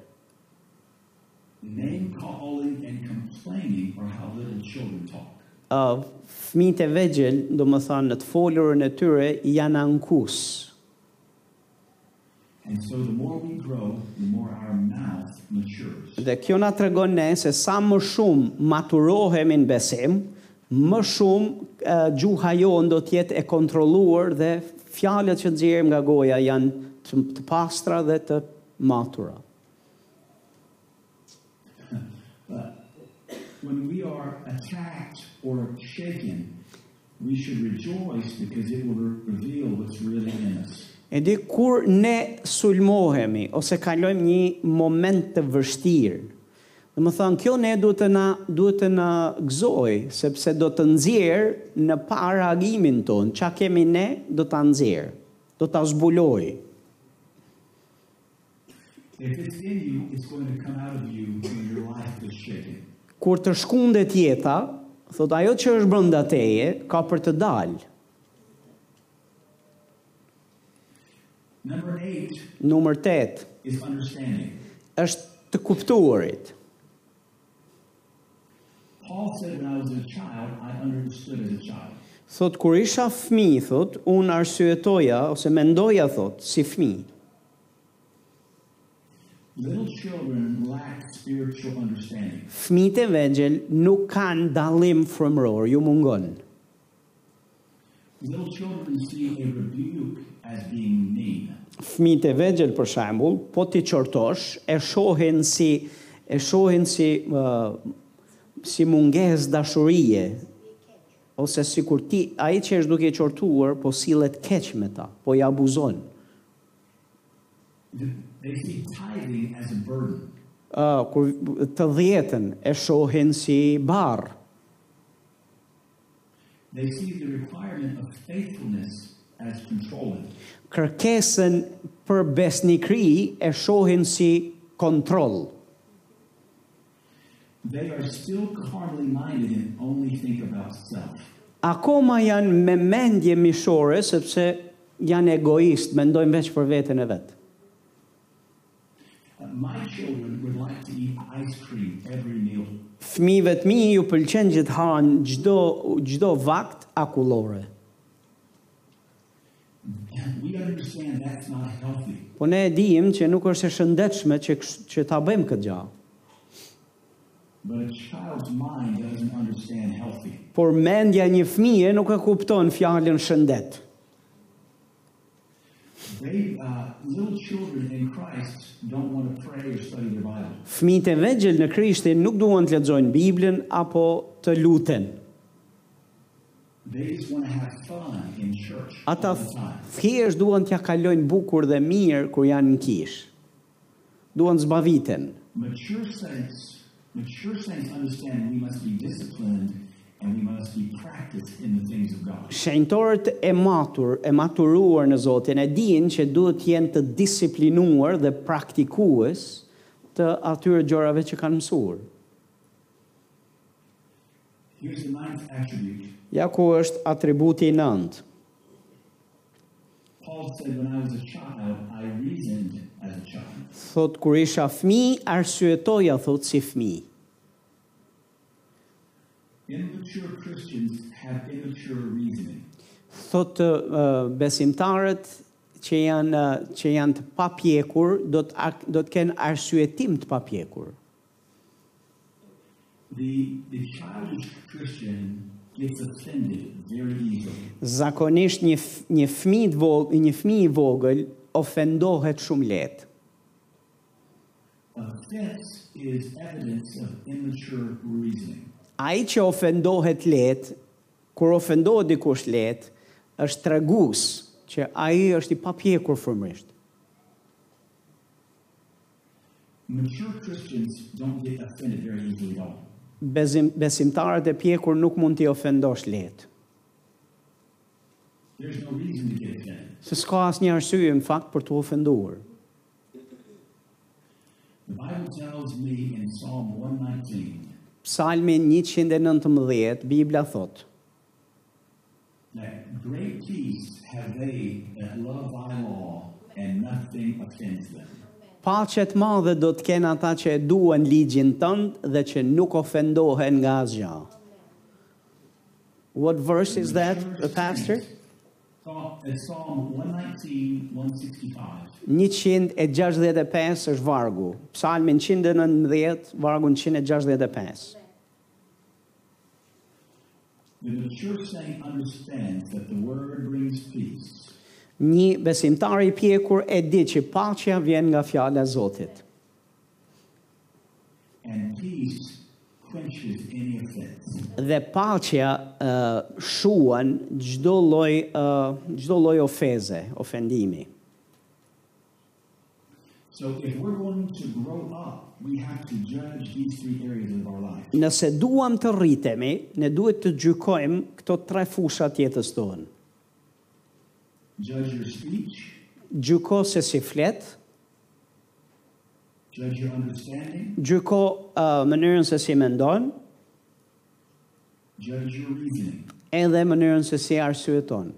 S2: Name calling and complaining are how little children talk.
S1: Uh, fëmijët e vegjël, do më thënë, në të folurën e tyre janë ankus.
S2: And so the more we grow, the more our mouth matures.
S1: Dhe kjo na tregon ne se sa më shumë maturohemi në besim, më shumë uh, gjuha jonë do të jetë e kontrolluar dhe fjalët që nxjerrim nga goja janë të, të pastra dhe të matura.
S2: But when we are attacked or shaken, we should rejoice because it will re- reveal what's really in us.
S1: E di kur ne sulmohemi ose kalojmë një moment të vështirë. Dhe më thënë, kjo ne duhet të na, duhet të na gëzoj, sepse do të nxjerë në pa reagimin tonë, qa kemi ne, do të nxjerë, do të zbuloj.
S2: If it's in you, it's going to come out of you when your life is shaken.
S1: Kur të shkundet jeta, thot ajo që është brënda teje, ka për të dalë.
S2: Number eight
S1: Numër 8
S2: is understanding.
S1: është të kuptuarit.
S2: Paul said, When I was a child, I understood as a child.
S1: Thot, kur isha fmi, thot, unë arsyetoja, ose mendoja, thot, si fmi.
S2: Little children lack spiritual understanding.
S1: Fmit e vegjel nuk kanë dalim frëmëror, ju mungon.
S2: Little children see a rebuke as being mean.
S1: Fmit e vegjel, për shambull, po ti qortosh, e shohin si, e shohin si, uh, si munges dashurije, ose si kur ti, a i që është duke qortuar, po silet keq me ta, po i abuzon.
S2: They see tithing as a burden.
S1: Uh, kur të dhjetën e shohin si barë,
S2: They see the requirement of faithfulness as controlling.
S1: kërkesën për besnikri e shohin si kontrol.
S2: They are still carnally minded and only think about self.
S1: Akoma janë me mendje mishore, sepse janë egoist, mendojnë veç për vetën e vetë.
S2: Uh, My children would like to eat ice cream every meal.
S1: Fëmive të mi ju pëlqen që të hanë gjdo, gjdo vakt akullore.
S2: We understand that's not healthy.
S1: Po ne e dim që nuk është e shëndetshme që, kësht- që ta bëjmë këtë gjahë.
S2: But a child's mind doesn't understand healthy.
S1: Por mendja e një fëmije nuk e kupton fjallën shëndet.
S2: They, uh, little children in Christ don't want to pray or study their Bible.
S1: Fëmijët e vegjël në Krishtin nuk duan të lexojnë Biblën apo të luten.
S2: They just want to have fun in church
S1: Ata
S2: all the time.
S1: thjesht duan t'ja kalojnë bukur dhe mirë kur janë në kish. Duan zbaviten.
S2: Mature saints, mature saints understand we must be disciplined and we must be practiced in the things of God.
S1: Shenjtorët e matur, e maturuar në Zotin, e dinë që duhet jenë të disiplinuar dhe praktikues të atyre gjërave që kanë mësuar.
S2: Here's the ninth attribute.
S1: Ja ku është atributi i nëntë.
S2: Paul said, When I was a child, I reasoned as a child.
S1: Thot, kur isha fmi, arsyetoja, thot, si fmi.
S2: Immature Christians have immature reasoning.
S1: Thot, uh, besimtarët që janë, uh, që janë të papjekur, do të, ak- do të kenë arsyetim të papjekur.
S2: The, the childish Christian gets offended very easily.
S1: Zakonisht një, f- një fmi, të vogël, një fmi i vogël ofendohet shumë letë.
S2: Offense is evidence of immature reasoning.
S1: Ai që ofendohet letë, kur ofendohet dikush letë, është tregus që ai është i papjekur frymërisht.
S2: Mature Christians don't get offended very easily at all.
S1: Bezim, besimtarët e pjekur nuk mund t'i ofendosh letë.
S2: There's no reason to get offended.
S1: Se s'ka asë një arsye në fakt për t'u ofenduar.
S2: The Bible tells me in Psalm 119
S1: Psalmi 119, Bibla thot,
S2: that great peace have they that love thy law, and nothing offends them.
S1: Pacet madhe do të kenë ata që e duan ligjin tënd dhe që nuk ofendohen nga asgjë. What verse is that,
S2: Mature
S1: the pastor?
S2: Christians. Psalm- It's uh, Psalm 119, 165.
S1: 165 është vargu. Psalmin 119, vargu 165.
S2: The mature saint understands that the word brings peace.
S1: Një besimtar i pjekur e di që paqja vjen nga fjala e Zotit.
S2: and peace quenches any offense.
S1: dhe paqja uh, shuan çdo lloj uh, çdo lloj ofeze, ofendimi.
S2: So if we're going to grow up, we have to judge these three areas of our life.
S1: Nëse duam të rritemi, ne duhet të gjykojmë këto tre fusha të jetës tonë.
S2: Judge your speech,
S1: Gjyko se si flet,
S2: judge your understanding,
S1: gjyko uh, mënyrën se si mendon,
S2: judge your reasoning.
S1: edhe mënyrën se si arsyeton.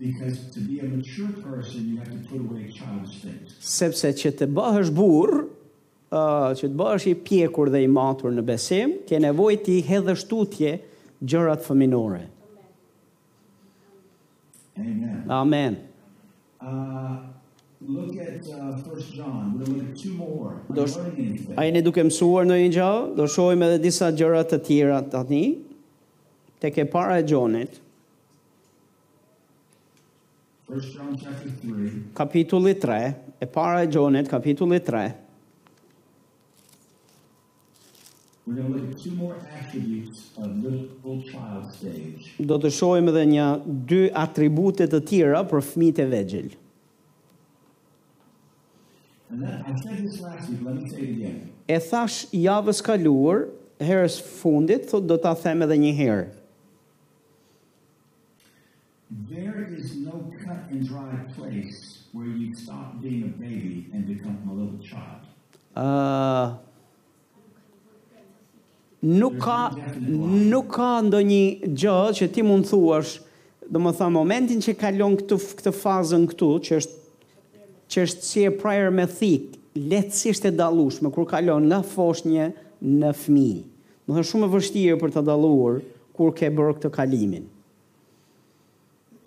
S2: Because to be a mature person, you have to put away childish things.
S1: Sepse që të bëhesh burr, uh, që të bëhesh i pjekur dhe i matur në besim, ke nevojë ti hedhësh tutje gjërat fëminore.
S2: Amen.
S1: Amen.
S2: Uh, look at uh, 1 John. We're going to look at two more.
S1: Those-
S2: Learning anything.
S1: A jeni duke mësuar në një gjallë, do shohim edhe disa gjëra të tjera tani, tek e para e gjonit,
S2: 1 John chapter 3,
S1: kapitulli 3, e para e gjonit, kapitulli 3,
S2: we're going to look at two more attributes of little child stage.
S1: do të shohim edhe një dy atribute të tjera për fëmijët e vegjël.
S2: And that, I said this last week, let me say it again.
S1: E thash javës kaluar, herës fundit, thot do ta them edhe një herë.
S2: There is no cut and dry place where you stop being a baby and become a little child.
S1: Ë nuk ka nuk ka ndonjë gjë që ti mund thuash, do më thënë momentin që kalon këtu këtë fazën këtu që është që është si e prior me thik, lehtësisht e dallueshme kur kalon nga foshnjë në fëmijë. Do thënë shumë e vështirë për ta dalluar kur ke bërë këtë kalimin.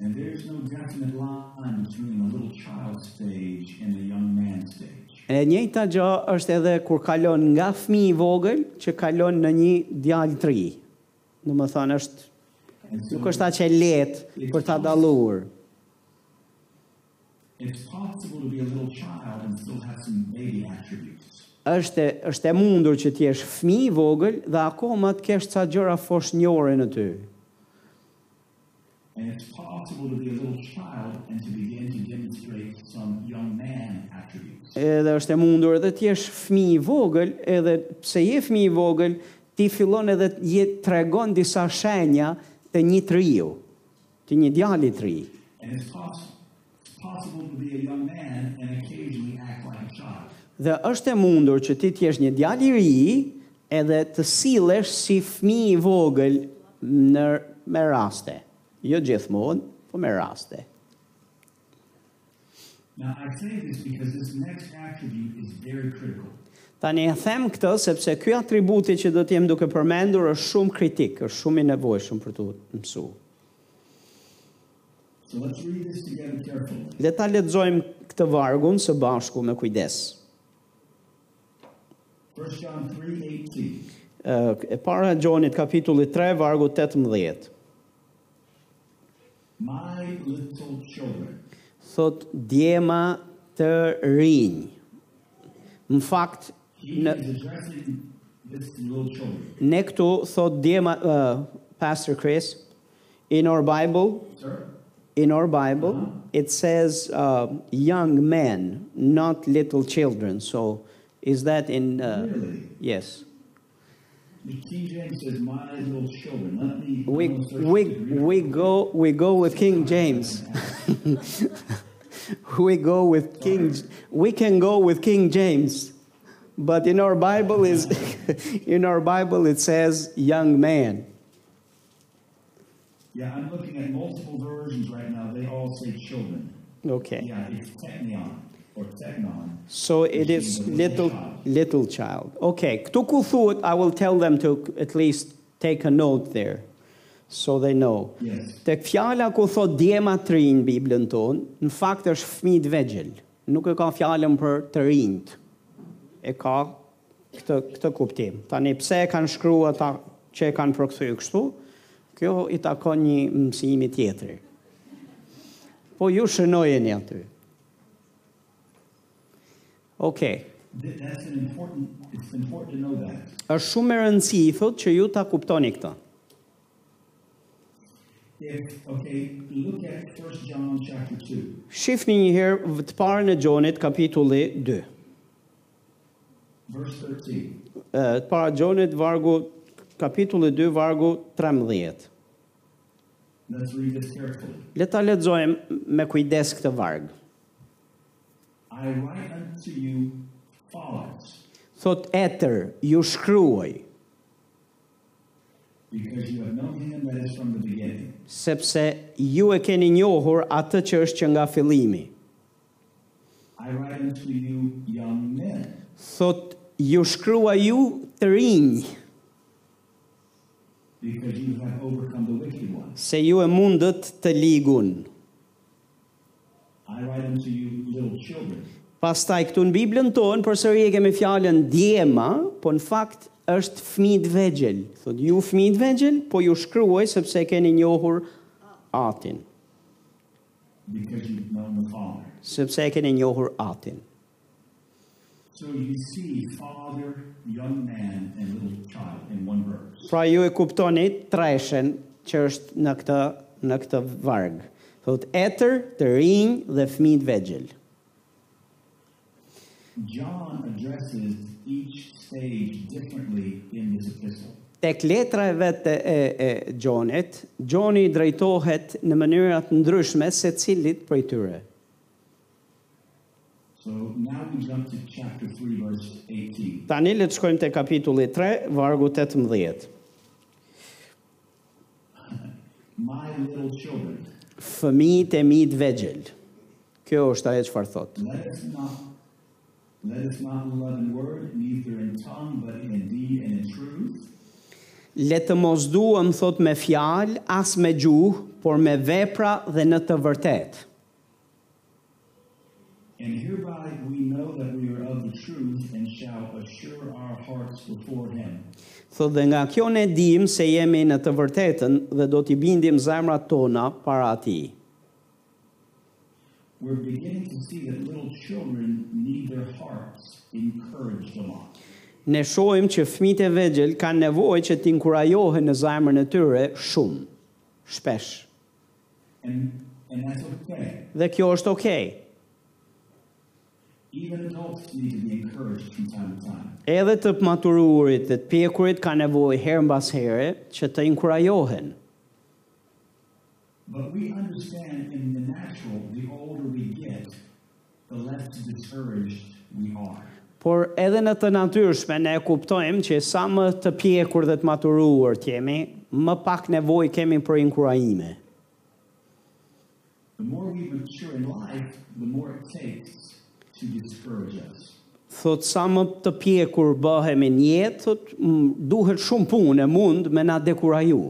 S2: And there is no definite line between the little child stage and the young man stage.
S1: E njëjta gjë është edhe kur kalon nga fëmijë i vogël që kalon në një djalë të ri. Do më thënë është
S2: And so
S1: Nuk është aq e lehtë për ta dalluar.
S2: it's possible to be a little child and still have some baby attributes.
S1: Është e- është e mundur që ti jesh fëmijë i vogël dhe akoma të kesh ca gjëra foshnjore në ty.
S2: And it's possible to be a little child and to begin to demonstrate some young man attributes.
S1: Edhe është e mundur edhe ti jesh fëmijë i vogël, edhe pse je fëmijë i vogël, ti fillon edhe të je- tregon disa shenja të një të riu, të një djali të ri.
S2: And it's possible. It's possible to be a young man and occasionally act like a child.
S1: Dhe është e mundur që ti të jesh një djalë i ri, edhe të sillesh si fëmijë i vogël në me raste. Jo gjithmonë, po me raste.
S2: Now, I say this because this next attribute is very critical.
S1: Tani e them këtë sepse ky atributi që do të jem duke përmendur është shumë kritik, është shumë i nevojshëm për të mësuar.
S2: So let's read this together carefully.
S1: Le ta lexojmë këtë vargun së bashku me kujdes.
S2: 1 John 3 18.
S1: Ë, E para e Gjonit kapitulli 3 vargu 18.
S2: My little children,
S1: Thot djema të rinj. Në fakt
S2: he
S1: në
S2: is addressing this to little children.
S1: ne këtu thot djema uh, Pastor Chris in our Bible
S2: Sir?
S1: in our Bible it says uh, young men not little children so is that in uh,
S2: Really?
S1: yes
S2: The King James says, My little children. Let me.
S1: we
S2: I'm gonna search
S1: we
S2: to read it.
S1: we go we go with King James. <laughs> we go with King we can go with King James. But in our Bible is <laughs> in our Bible it says young man.
S2: Yeah, I'm looking at multiple versions right now. They all say children.
S1: Okay.
S2: Yeah, it's technion or technon.
S1: So it is little little child. Okay. Këtu ku thuhet I will tell them to at least take a note there so they know.
S2: Yes.
S1: Tek fjala ku thot djema të rinj në Biblën tonë, në fakt është fëmijë të vegjël. Nuk e ka fjalën për të rinjt. E ka këtë këtë kuptim. Tani pse e kanë shkruar ata që e kanë përkthyer kështu? Kjo i takon një mësimi tjetër. Po ju shënojeni aty. Okej.
S2: Th- That's an important, it's important to know that.
S1: Është shumë e rëndësishme thotë që ju ta kuptoni këtë.
S2: If, okay, look at 1 John chapter 2,
S1: Shifni një herë të parën e Gjonit kapitulli 2.
S2: verse 13.
S1: E, të para Gjonit, vargu, kapitulli 2, vargu 13.
S2: Let's read this carefully.
S1: Le ta lexojmë me kujdes këtë varg.
S2: I write unto you fathers,
S1: Thot etër, ju shkruaj,
S2: because you have known him that is from the beginning.
S1: sepse ju e keni njohur atë që është që nga fillimi.
S2: I write unto you young men,
S1: Thot ju shkruaj ju të rinj,
S2: because you have overcome the wicked one.
S1: se ju e mundët të ligun.
S2: I write unto you little children,
S1: Pastaj këtu në Biblën tonë përsëri e kemi fjalën djema, po në fakt është fëmijë të vegjël. Thot ju fëmijë të vegjël, po ju shkruaj sepse e keni njohur atin.
S2: because you've known the Father.
S1: sepse e keni njohur atin.
S2: So you see father, young man, and little child in one verse.
S1: Pra ju e kuptoni treshen që është në këtë në këtë varg. Thot etër, të rinj dhe fëmijë të vegjël.
S2: John addresses each stage differently in this epistle.
S1: Tek letra e vetë e, e Gjonit, Gjoni i drejtohet në mënyra të ndryshme se cilit prej tyre.
S2: So now we jump to chapter 3, verse 18.
S1: Tani le të shkojmë te kapitulli 3, vargu 18.
S2: My little children,
S1: Fëmijët e mi të vegjël. Kjo është ajo çfarë thot.
S2: let us not let us not love in word, neither in tongue, but in deed and in truth.
S1: Le të mos duhem thot me fjalë as me gjuhë, por me vepra dhe në të vërtetë.
S2: And hereby we know that we are of the truth and shall assure our hearts before him.
S1: Thot dhe nga kjo ne dim se jemi në të vërtetën dhe do t'i bindim zemrat tona para ati.
S2: We're beginning to see that little children need their hearts encouraged a lot.
S1: Ne shohim që fëmijët e vegjël kanë nevojë që t'inkurajohen në zemrën e tyre shumë, shpesh.
S2: And and that's okay.
S1: Dhe kjo është okay.
S2: Even adults need to be encouraged from time to time.
S1: Edhe të matururit dhe të pjekurit ka nevojë herë mbas here që të inkurajohen.
S2: But we understand in the natural, the older we get, the less discouraged we are.
S1: Por edhe në të natyrshme ne e kuptojmë që sa më të pjekur dhe të maturuar t'jemi, më pak nevojë kemi për inkurajime.
S2: The more we mature in life, the more it takes to discourage us.
S1: Thot sa më të pjekur bëhemi në jetë, thot m- duhet shumë punë e mund me na dekuraju.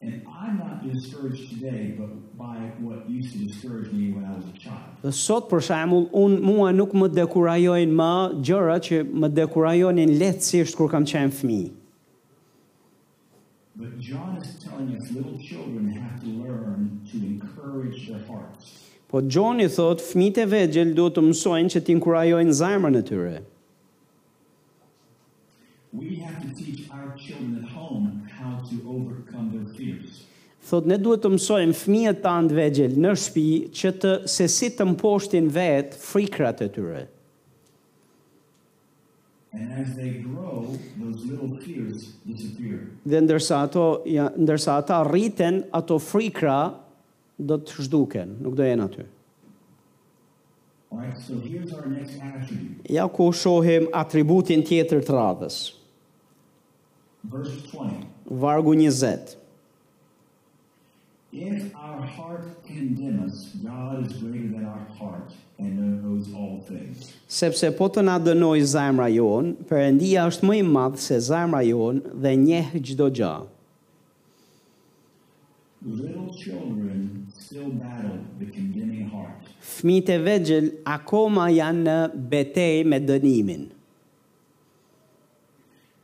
S2: And I'm not discouraged today, but by what used to discourage me when I was a child.
S1: Dhe sot për shembull, unë mua nuk më dekurajojnë më gjëra që më dekurajonin lehtësisht kur kam qenë fëmijë.
S2: But John is telling us little children have to learn to encourage their hearts.
S1: Po Gjoni thot, fëmijët e vegjël duhet të mësojnë që t'inkurajojnë zemrën e tyre.
S2: We have to teach our children at home how to overcome their fears.
S1: Thot, ne duhet të mësojmë fëmijët tanë të vegjël në shtëpi që të se si të mposhtin vetë frikrat e tyre.
S2: And as they grow, those little fears disappear.
S1: Dhe ndërsa ato, ja, ndërsa ata rriten, ato frikra do të zhduken, nuk do jenë aty.
S2: All right, so here's our next attribute.
S1: Ja ku shohim atributin tjetër të radhës,
S2: Verse 20.
S1: vargu 20.
S2: If our heart condemn us, God is greater than our heart and knows all things.
S1: Sepse po të na dënoj zemra jonë, përëndia është më i madhë se zemra jonë dhe njehë gjdo gjë.
S2: Little children still battle the condemning heart.
S1: Fëmijët e vegjël akoma janë në betejë me dënimin.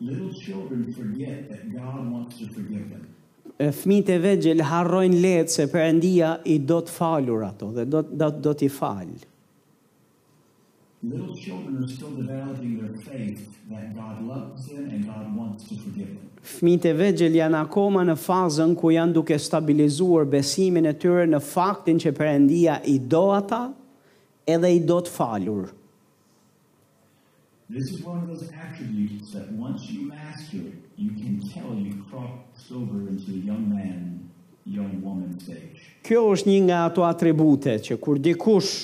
S2: Little children forget that God wants to forgive them.
S1: E, Fëmijët e vegjël harrojnë lehtë se Perëndia i do të falur ato dhe do do, do t'i fal.
S2: Little children are still developing their faith that God loves them and God wants to forgive them.
S1: Fëmijët e vegjël janë akoma në fazën ku janë duke stabilizuar besimin e tyre në faktin që Perëndia i do ata edhe i do të falur.
S2: This is one of those attributes that once you master it, you can tell you've crossed over into the young man, young woman stage.
S1: Kjo është një nga ato atribute që kur dikush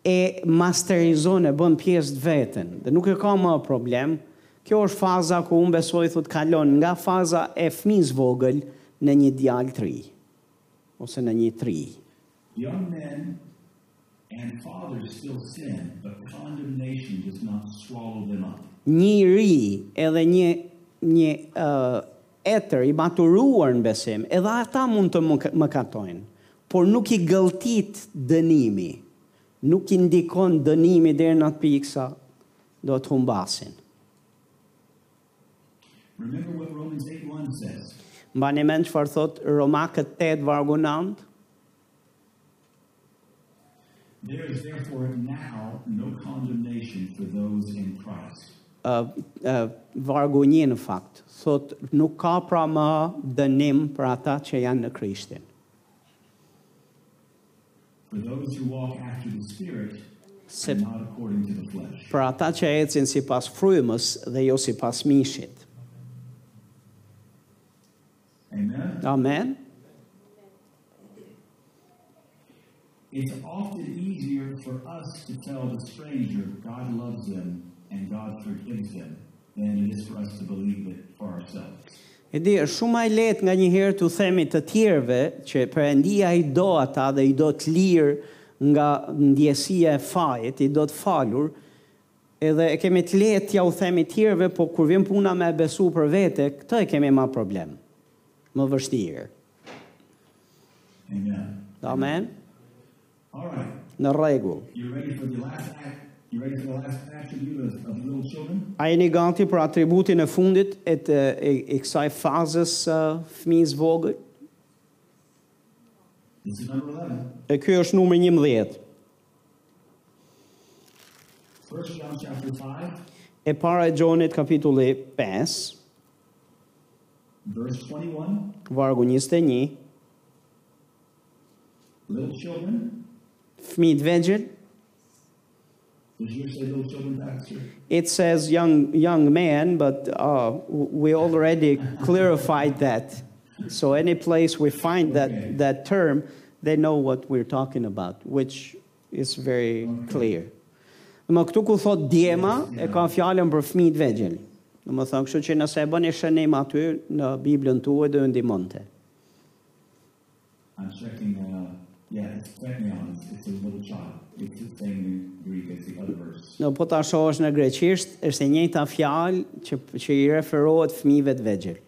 S1: e masterizon e bën pjesë të veten dhe nuk e ka më problem, kjo është faza ku unë besoj thot kalon nga faza e fëmijës vogël në një djalë të ri ose në një të ri.
S2: Young men and fathers still sin, but condemnation does not swallow them up.
S1: Një ri edhe një një uh, etër i maturuar në besim, edhe ata mund të më, më katojnë, por nuk i gëlltit dënimi, nuk i ndikon dënimi deri në atë pikë sa do të humbasin.
S2: Remember what Romans 8 1 says
S1: Mbani mend çfarë thot Romakët 8 vargu 9?
S2: There is therefore now no condemnation for those in Christ.
S1: Uh, uh, vargu 1 në fakt. Thot nuk ka pra më dënim për ata që janë në Krishtin.
S2: For those who walk after the Spirit,
S1: Sep-
S2: and not according to the flesh.
S1: Për ata që ecin sipas frymës dhe jo sipas mishit.
S2: Amen?
S1: Amen.
S2: It's often easier for us to tell the stranger God loves them and God forgives them than it is for us to believe it for ourselves.
S1: E di, është shumë më e lehtë nga një herë të themi të tjerëve që Perëndia i do ata dhe i do të lirë nga ndjesia e fajit, i do të falur, edhe e kemi të lehtë ja u themi të tjerëve, po kur vjen puna me e besu për vete, këtë e kemi më problem. Më vështirë.
S2: Amen.
S1: Amen.
S2: All right.
S1: Në rregull.
S2: You ready for the last act? You ready for the last attribute of, of little children?
S1: A jeni gati për atributin e fundit e të e, e kësaj fazës uh, fëmijës vogël?
S2: This is number 11.
S1: E ky është numri 11.
S2: 1 John chapter 5,
S1: E para e Gjonit kapitulli 5,
S2: verse 21.
S1: vargu 21.
S2: Little children.
S1: fëmijët vegjël.
S2: Did you say little children, Pastor?
S1: It says young young man, but uh, we already clarified that. So any place we find that that term, they know what we're talking about, which is very clear. Më këtu ku thot djema, e ka fjalën për fëmijët vegjël. Do të thonë, kështu që nëse e bëni shënim aty në Biblën tuaj do ju ndihmonte.
S2: I'm checking, uh, yeah, it's technion, it's, it's a little child. It's the same in Greek as the other verse.
S1: Në po ta shohësh në greqisht, është e njëjta fjalë që që i referohet fëmijëve të vegjël.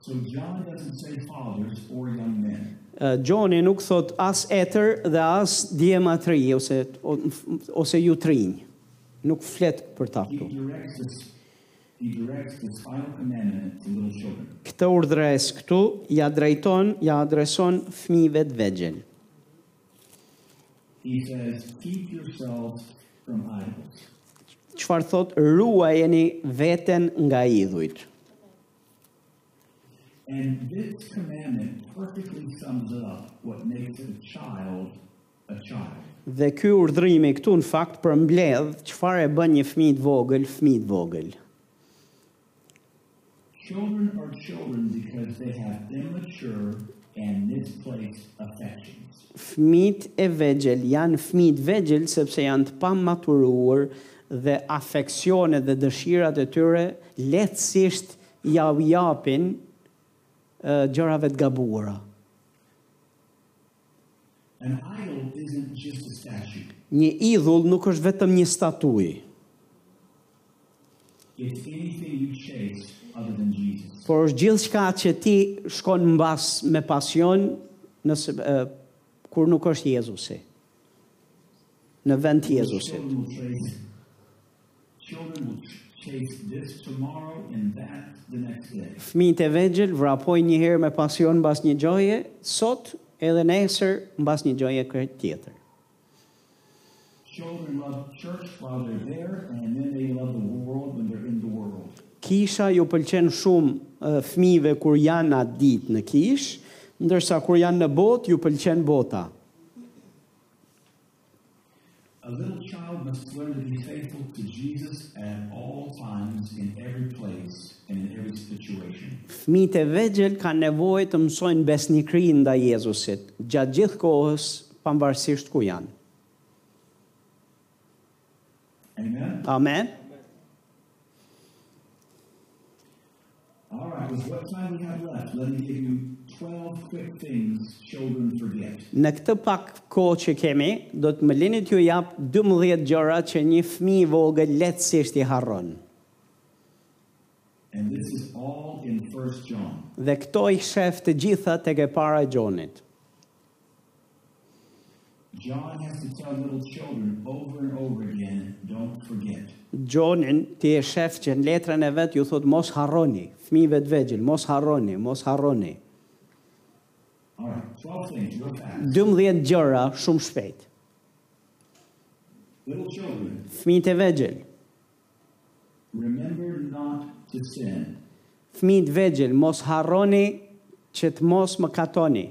S2: So John doesn't say fathers or young men.
S1: Ë, Gjoni nuk thot as etër dhe as djema të ri ose o- ose ju të rinj. Nuk flet për ta
S2: He
S1: këtu.
S2: directs this, he directs this final commandment to little children.
S1: Këtë urdhres këtu ja drejton, ja adreson fëmijëve të vegjël.
S2: He says, keep yourselves from idols.
S1: Çfarë thot ruajeni veten nga idhujt.
S2: And this commandment perfectly sums up what makes a child a child.
S1: Dhe ky urdhrimi këtu në fakt përmbledh çfarë e bën një fëmijë të vogël, fëmijë të vogël.
S2: Children are children because they have immature and misplaced affections.
S1: Fëmijët e vegjël janë fëmijë të vegjël sepse janë të pamaturuar dhe afeksionet dhe dëshirat e tyre lehtësisht ja u japin e, gjërave të gabuara.
S2: An idol isn't just a statue,
S1: Një idhull nuk është vetëm një statuj,
S2: it's anything you chase other than Jesus.
S1: por është gjithçka që ti shkon mbas me pasion nëse e, kur nuk është Jezusi. Në vend të Jezusit.
S2: Children will chase, children will ch- chase this tomorrow and that the next day.
S1: Fëmijët e vegjël vrapojnë një herë me pasion mbas një gjoje, sot edhe nesër mbas një gjoje krejt tjetër.
S2: Children love church while they're there, and then they love the world when they're in the world.
S1: Kisha ju pëlqen shumë e, fëmijëve kur janë atë ditë në kish, ndërsa kur janë në botë ju pëlqen bota.
S2: A little child must learn to be faithful to Jesus at all times, in every place, and in every situation.
S1: Fëmijët e vegjël kanë nevojë të mësojnë besnikri ndaj Jezusit gjatë gjithë kohës, pavarësisht ku janë.
S2: Amen?
S1: Amen.
S2: All right, with what time we have left, let me give you 12 quick things children forget.
S1: Në këtë pak kohë që kemi, do të më lini t'ju jap 12 gjëra që një fëmijë i vogël lehtësisht i harron.
S2: And this is all in 1 John.
S1: Dhe këto i shef të gjitha tek e para e Gjonit.
S2: John has to tell little children over and over again don't forget.
S1: Gjonin ti e shef që në letrën e vet ju thot mos harroni, fëmijëve të vegjël, mos harroni, mos harroni.
S2: All right, 12 things, real fast.
S1: 12 gjëra shumë shpejt.
S2: Little children,
S1: Fëmijët e vegjël,
S2: remember not to sin.
S1: fëmijët e vegjël mos harroni që të mos më katoni.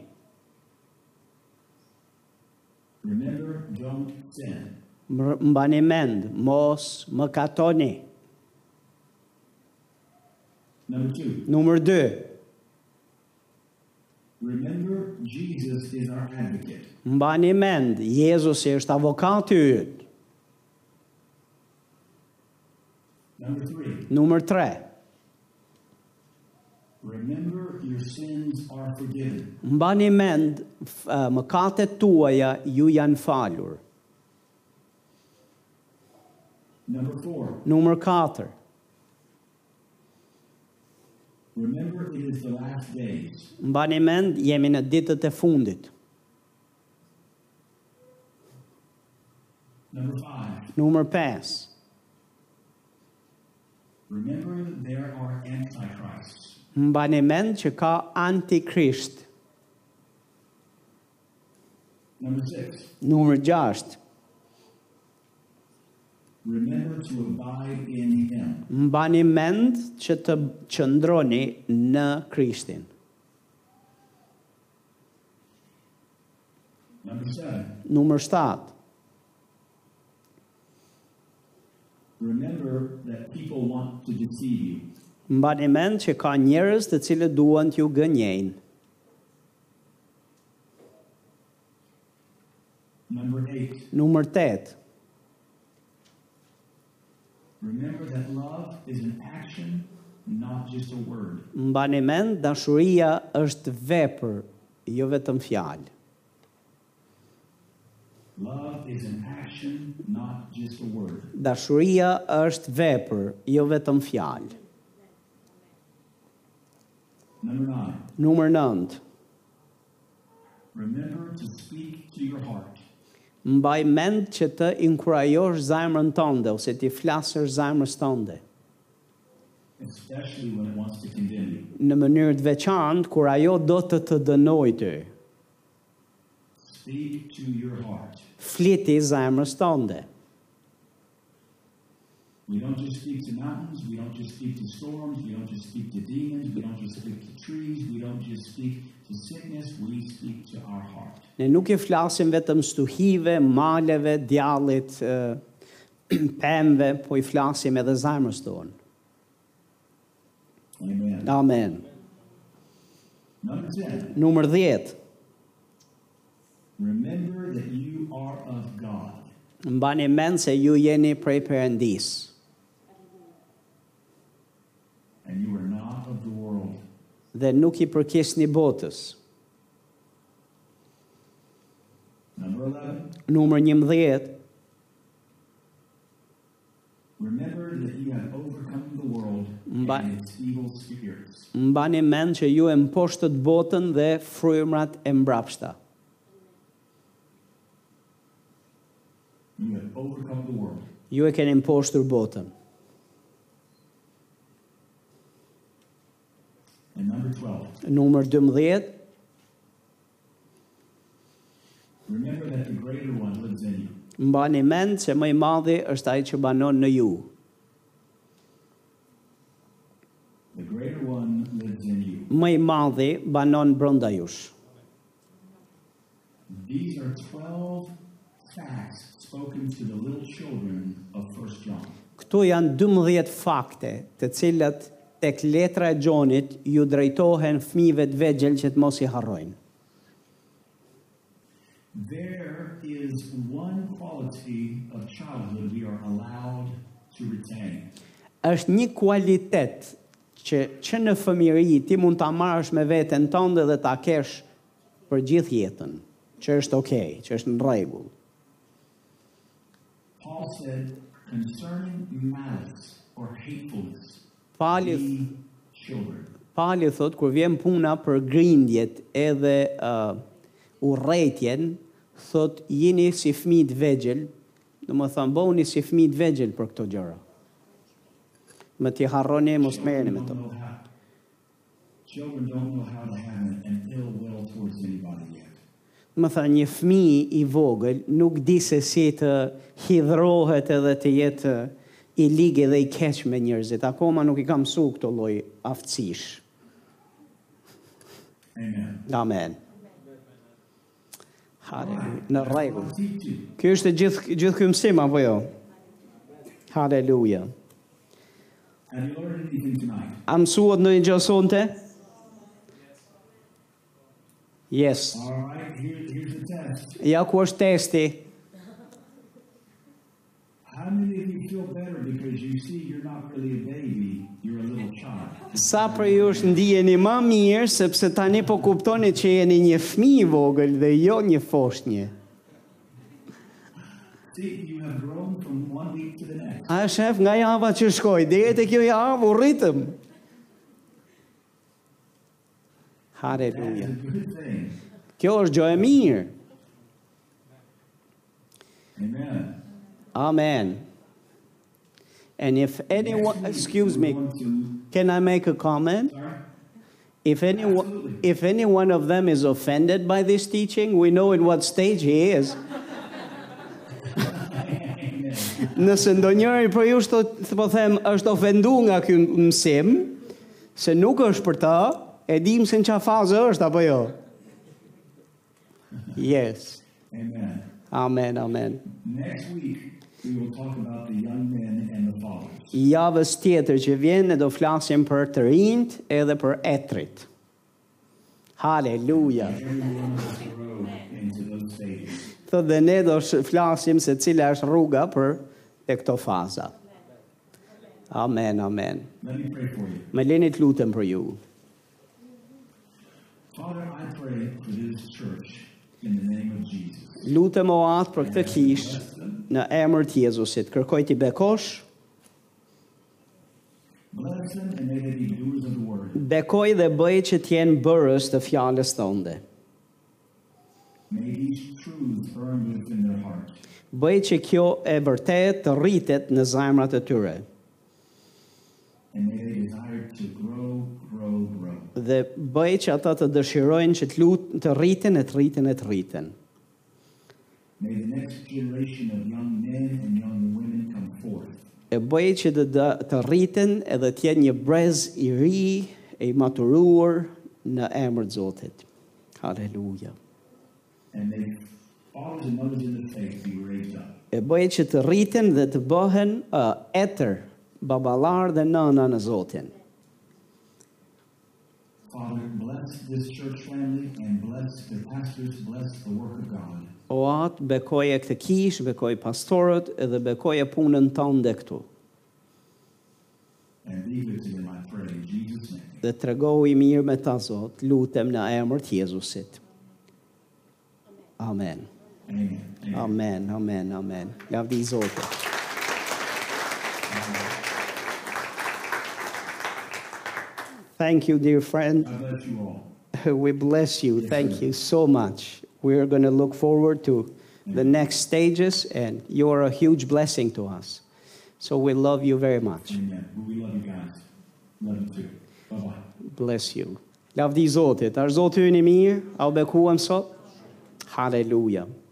S2: Remember, don't sin.
S1: Mr- Mbani mend, mos më katoni.
S2: Number two,
S1: Numër 2,
S2: remember Jesus is our advocate.
S1: mbani mend, Jezusi është avokati yt.
S2: Number three,
S1: Numër 3,
S2: remember your sins are forgiven.
S1: mbani mend, f- eh, mëkatet tuaja ju janë falur.
S2: Number four,
S1: Numër 4,
S2: remember it is the last days.
S1: mbani mend, jemi në ditët e fundit.
S2: Number five,
S1: Numër 5,
S2: remember there are antichrists.
S1: mbani mend që ka antikrist.
S2: Number six,
S1: Numër 6,
S2: remember to abide in him.
S1: mbani mend që të qëndroni në Krishtin.
S2: Number seven,
S1: Numër 7,
S2: remember that people want to deceive you.
S1: mbani mend që ka njerëz të cilët duan t'ju gënjejnë.
S2: Number eight,
S1: Numër 8,
S2: remember that love is an action not just a word.
S1: Mbani mend, dashuria është vepër, jo vetëm fjalë.
S2: Love is an action, not just a word.
S1: Dashuria është vepër, jo vetëm fjalë.
S2: Number nine,
S1: Numër 9.
S2: remember to speak to your heart.
S1: Mbaj mend që të inkurajosh zemrën tënde ose ti flasësh zemrës tënde.
S2: especially when it wants to condemn
S1: Në
S2: you.
S1: mënyrë të veçantë kur ajo do të të dënojë ty.
S2: Speak to your heart.
S1: Fliti zemrës tënde.
S2: We don't just speak to mountains, we don't just speak to storms, we don't just speak to demons, we don't just speak to trees, we don't just speak to sickness, we speak to our heart.
S1: Ne nuk i flasim vetëm stuhive, maleve, djallit, ë, <clears throat> pemëve, po i flasim edhe zemrës tonë.
S2: Amen.
S1: Amen.
S2: Number 10,
S1: Numër 10.
S2: remember that you are of God.
S1: Mbani mend se ju jeni prej Perëndis
S2: And you are not of the world.
S1: dhe nuk i përkisni botës.
S2: Number 11,
S1: Numër 11.
S2: remember that you have overcome the world
S1: Mba-
S2: and its evil spirits.
S1: Mbani mend që ju e mposhtët botën dhe frymrat e mbrapshta.
S2: You have overcome the world.
S1: Ju e keni mposhtur botën.
S2: And number 12,
S1: Numër 12.
S2: remember that the greater one lives in you.
S1: Mbani mend se më i madhi është ai që banon në ju.
S2: The greater one lives in you.
S1: Më i madhi banon brenda jush.
S2: These are 12 facts spoken to the little children of First John.
S1: Këto janë 12 fakte të cilat tek letra e Gjonit ju drejtohen fëmijëve të vegjël që të mos i harrojnë.
S2: There is one quality of childhood we are allowed to retain,
S1: është një kualitet që që në fëmijëri ti mund ta marrësh me veten tënde dhe ta kesh për gjithë jetën, që është okay, që është në rregull.
S2: Paul said, concerning malice or hatefulness,
S1: Pali
S2: be children.
S1: Pali thot kur vjen puna për grindjet edhe uh, urrëtitjen, thot jini si fëmijë të vegjël, do të thonë bëhuni si fëmijë të vegjël për këto gjëra. Më ti harroni mos merreni me
S2: Children
S1: to.
S2: don't know how- Children don't know how to have an- an ill will towards anybody yet.
S1: Më thënë, një fëmi i vogël nuk di se si të hidrohet edhe të jetë i ligë dhe i keq me njerëzit. Akoma nuk i kam su këto lloj aftësish.
S2: Amen.
S1: Amen. Haleluja. Në rregull.
S2: Quality two.
S1: Ky është gjithë gjithë ky mësim apo jo? Haleluja.
S2: Have you learned anything tonight?
S1: A mësuat në një gjë sonte? Yes.
S2: All right, here, here's the test.
S1: Ja ku është testi.
S2: How many of you feel better because you see you're not really a baby, you're a little child?
S1: Sa për ju është ndijeni më mirë, sepse tani po kuptoni që jeni një fmi i vogël dhe jo një foshnje.
S2: See, you have grown from one week to the next.
S1: A shef, nga java që shkoj, deri te kjo javë u rritëm.
S2: That's a
S1: Haleluja.
S2: good thing.
S1: Kjo është gjë e mirë.
S2: Amen.
S1: Amen. And if anyone,
S2: Next week,
S1: excuse
S2: we're
S1: me,
S2: going to-
S1: can I make a comment?
S2: Sorry?
S1: If anyone,
S2: Absolutely.
S1: if any one of them is offended by this teaching, we know in what stage he is.
S2: Amen.
S1: Nëse ndonjëri për ju shto, po them, është ofendu nga ky mësim, se nuk është për ta, e dim se në çfarë fazë është apo jo. Yes.
S2: Amen.
S1: Amen, amen.
S2: Next week, we will talk about the young men and the fathers.
S1: Javës tjetër që vjen ne do flasim për të rinjt edhe për etrit. Haleluja.
S2: Everyone has to grow into those stages.
S1: Thot dhe ne do sh- flasim se cila është rruga për te këto faza. Amen, amen.
S2: Let me pray for you.
S1: Më leni të lutem për ju.
S2: Father, I pray for this church in the name of Jesus.
S1: Lutem o atë për këtë kishë
S2: Bless them.
S1: në emër të Jezusit. Kërkoj t'i bekosh,
S2: Bless them and may they be doers of the word.
S1: bekoj dhe bëj që t'jenë bërës të fjales tënde.
S2: May these truths burn within their heart.
S1: Bëj që kjo e vërtet të rritet në zemrat e tyre
S2: And may they desire to grow, grow, grow.
S1: dhe bëj që ata të dëshirojnë që të lutë të rriten e të rriten e të rriten.
S2: May the next generation of young men and young women come forth.
S1: E bëj që të, dë, të rriten edhe të jenë një brez i ri e i maturuar në emër të Zotit. Haleluja.
S2: And may fathers and mothers in the faith be raised up.
S1: E bëj që të rriten dhe të bëhen uh, etër, babalar dhe nëna në Zotin.
S2: Father, bless this church family and bless the pastors, bless the work of God.
S1: O atë bekoje këtë kish, bekoj pastorët edhe bekoje punën tënde këtu.
S2: And leave it to them, I pray, in Jesus' name.
S1: Dhe të i mirë me ta Zot, lutem në emër të Jezusit. Amen.
S2: Amen. Amen.
S1: Amen, amen, amen. Lavdi Zotit. Thank you, dear friend.
S2: I bless you all.
S1: We bless you. Thank you so much. We are going to look forward to the next stages, and you are a huge blessing to us. So we love you very much.
S2: Amen. We love you guys. Love you too. Bye bye.
S1: Bless you. Lavdi Zotit. Ar Zoti ynë i mirë, au bekuam sot. Haleluja.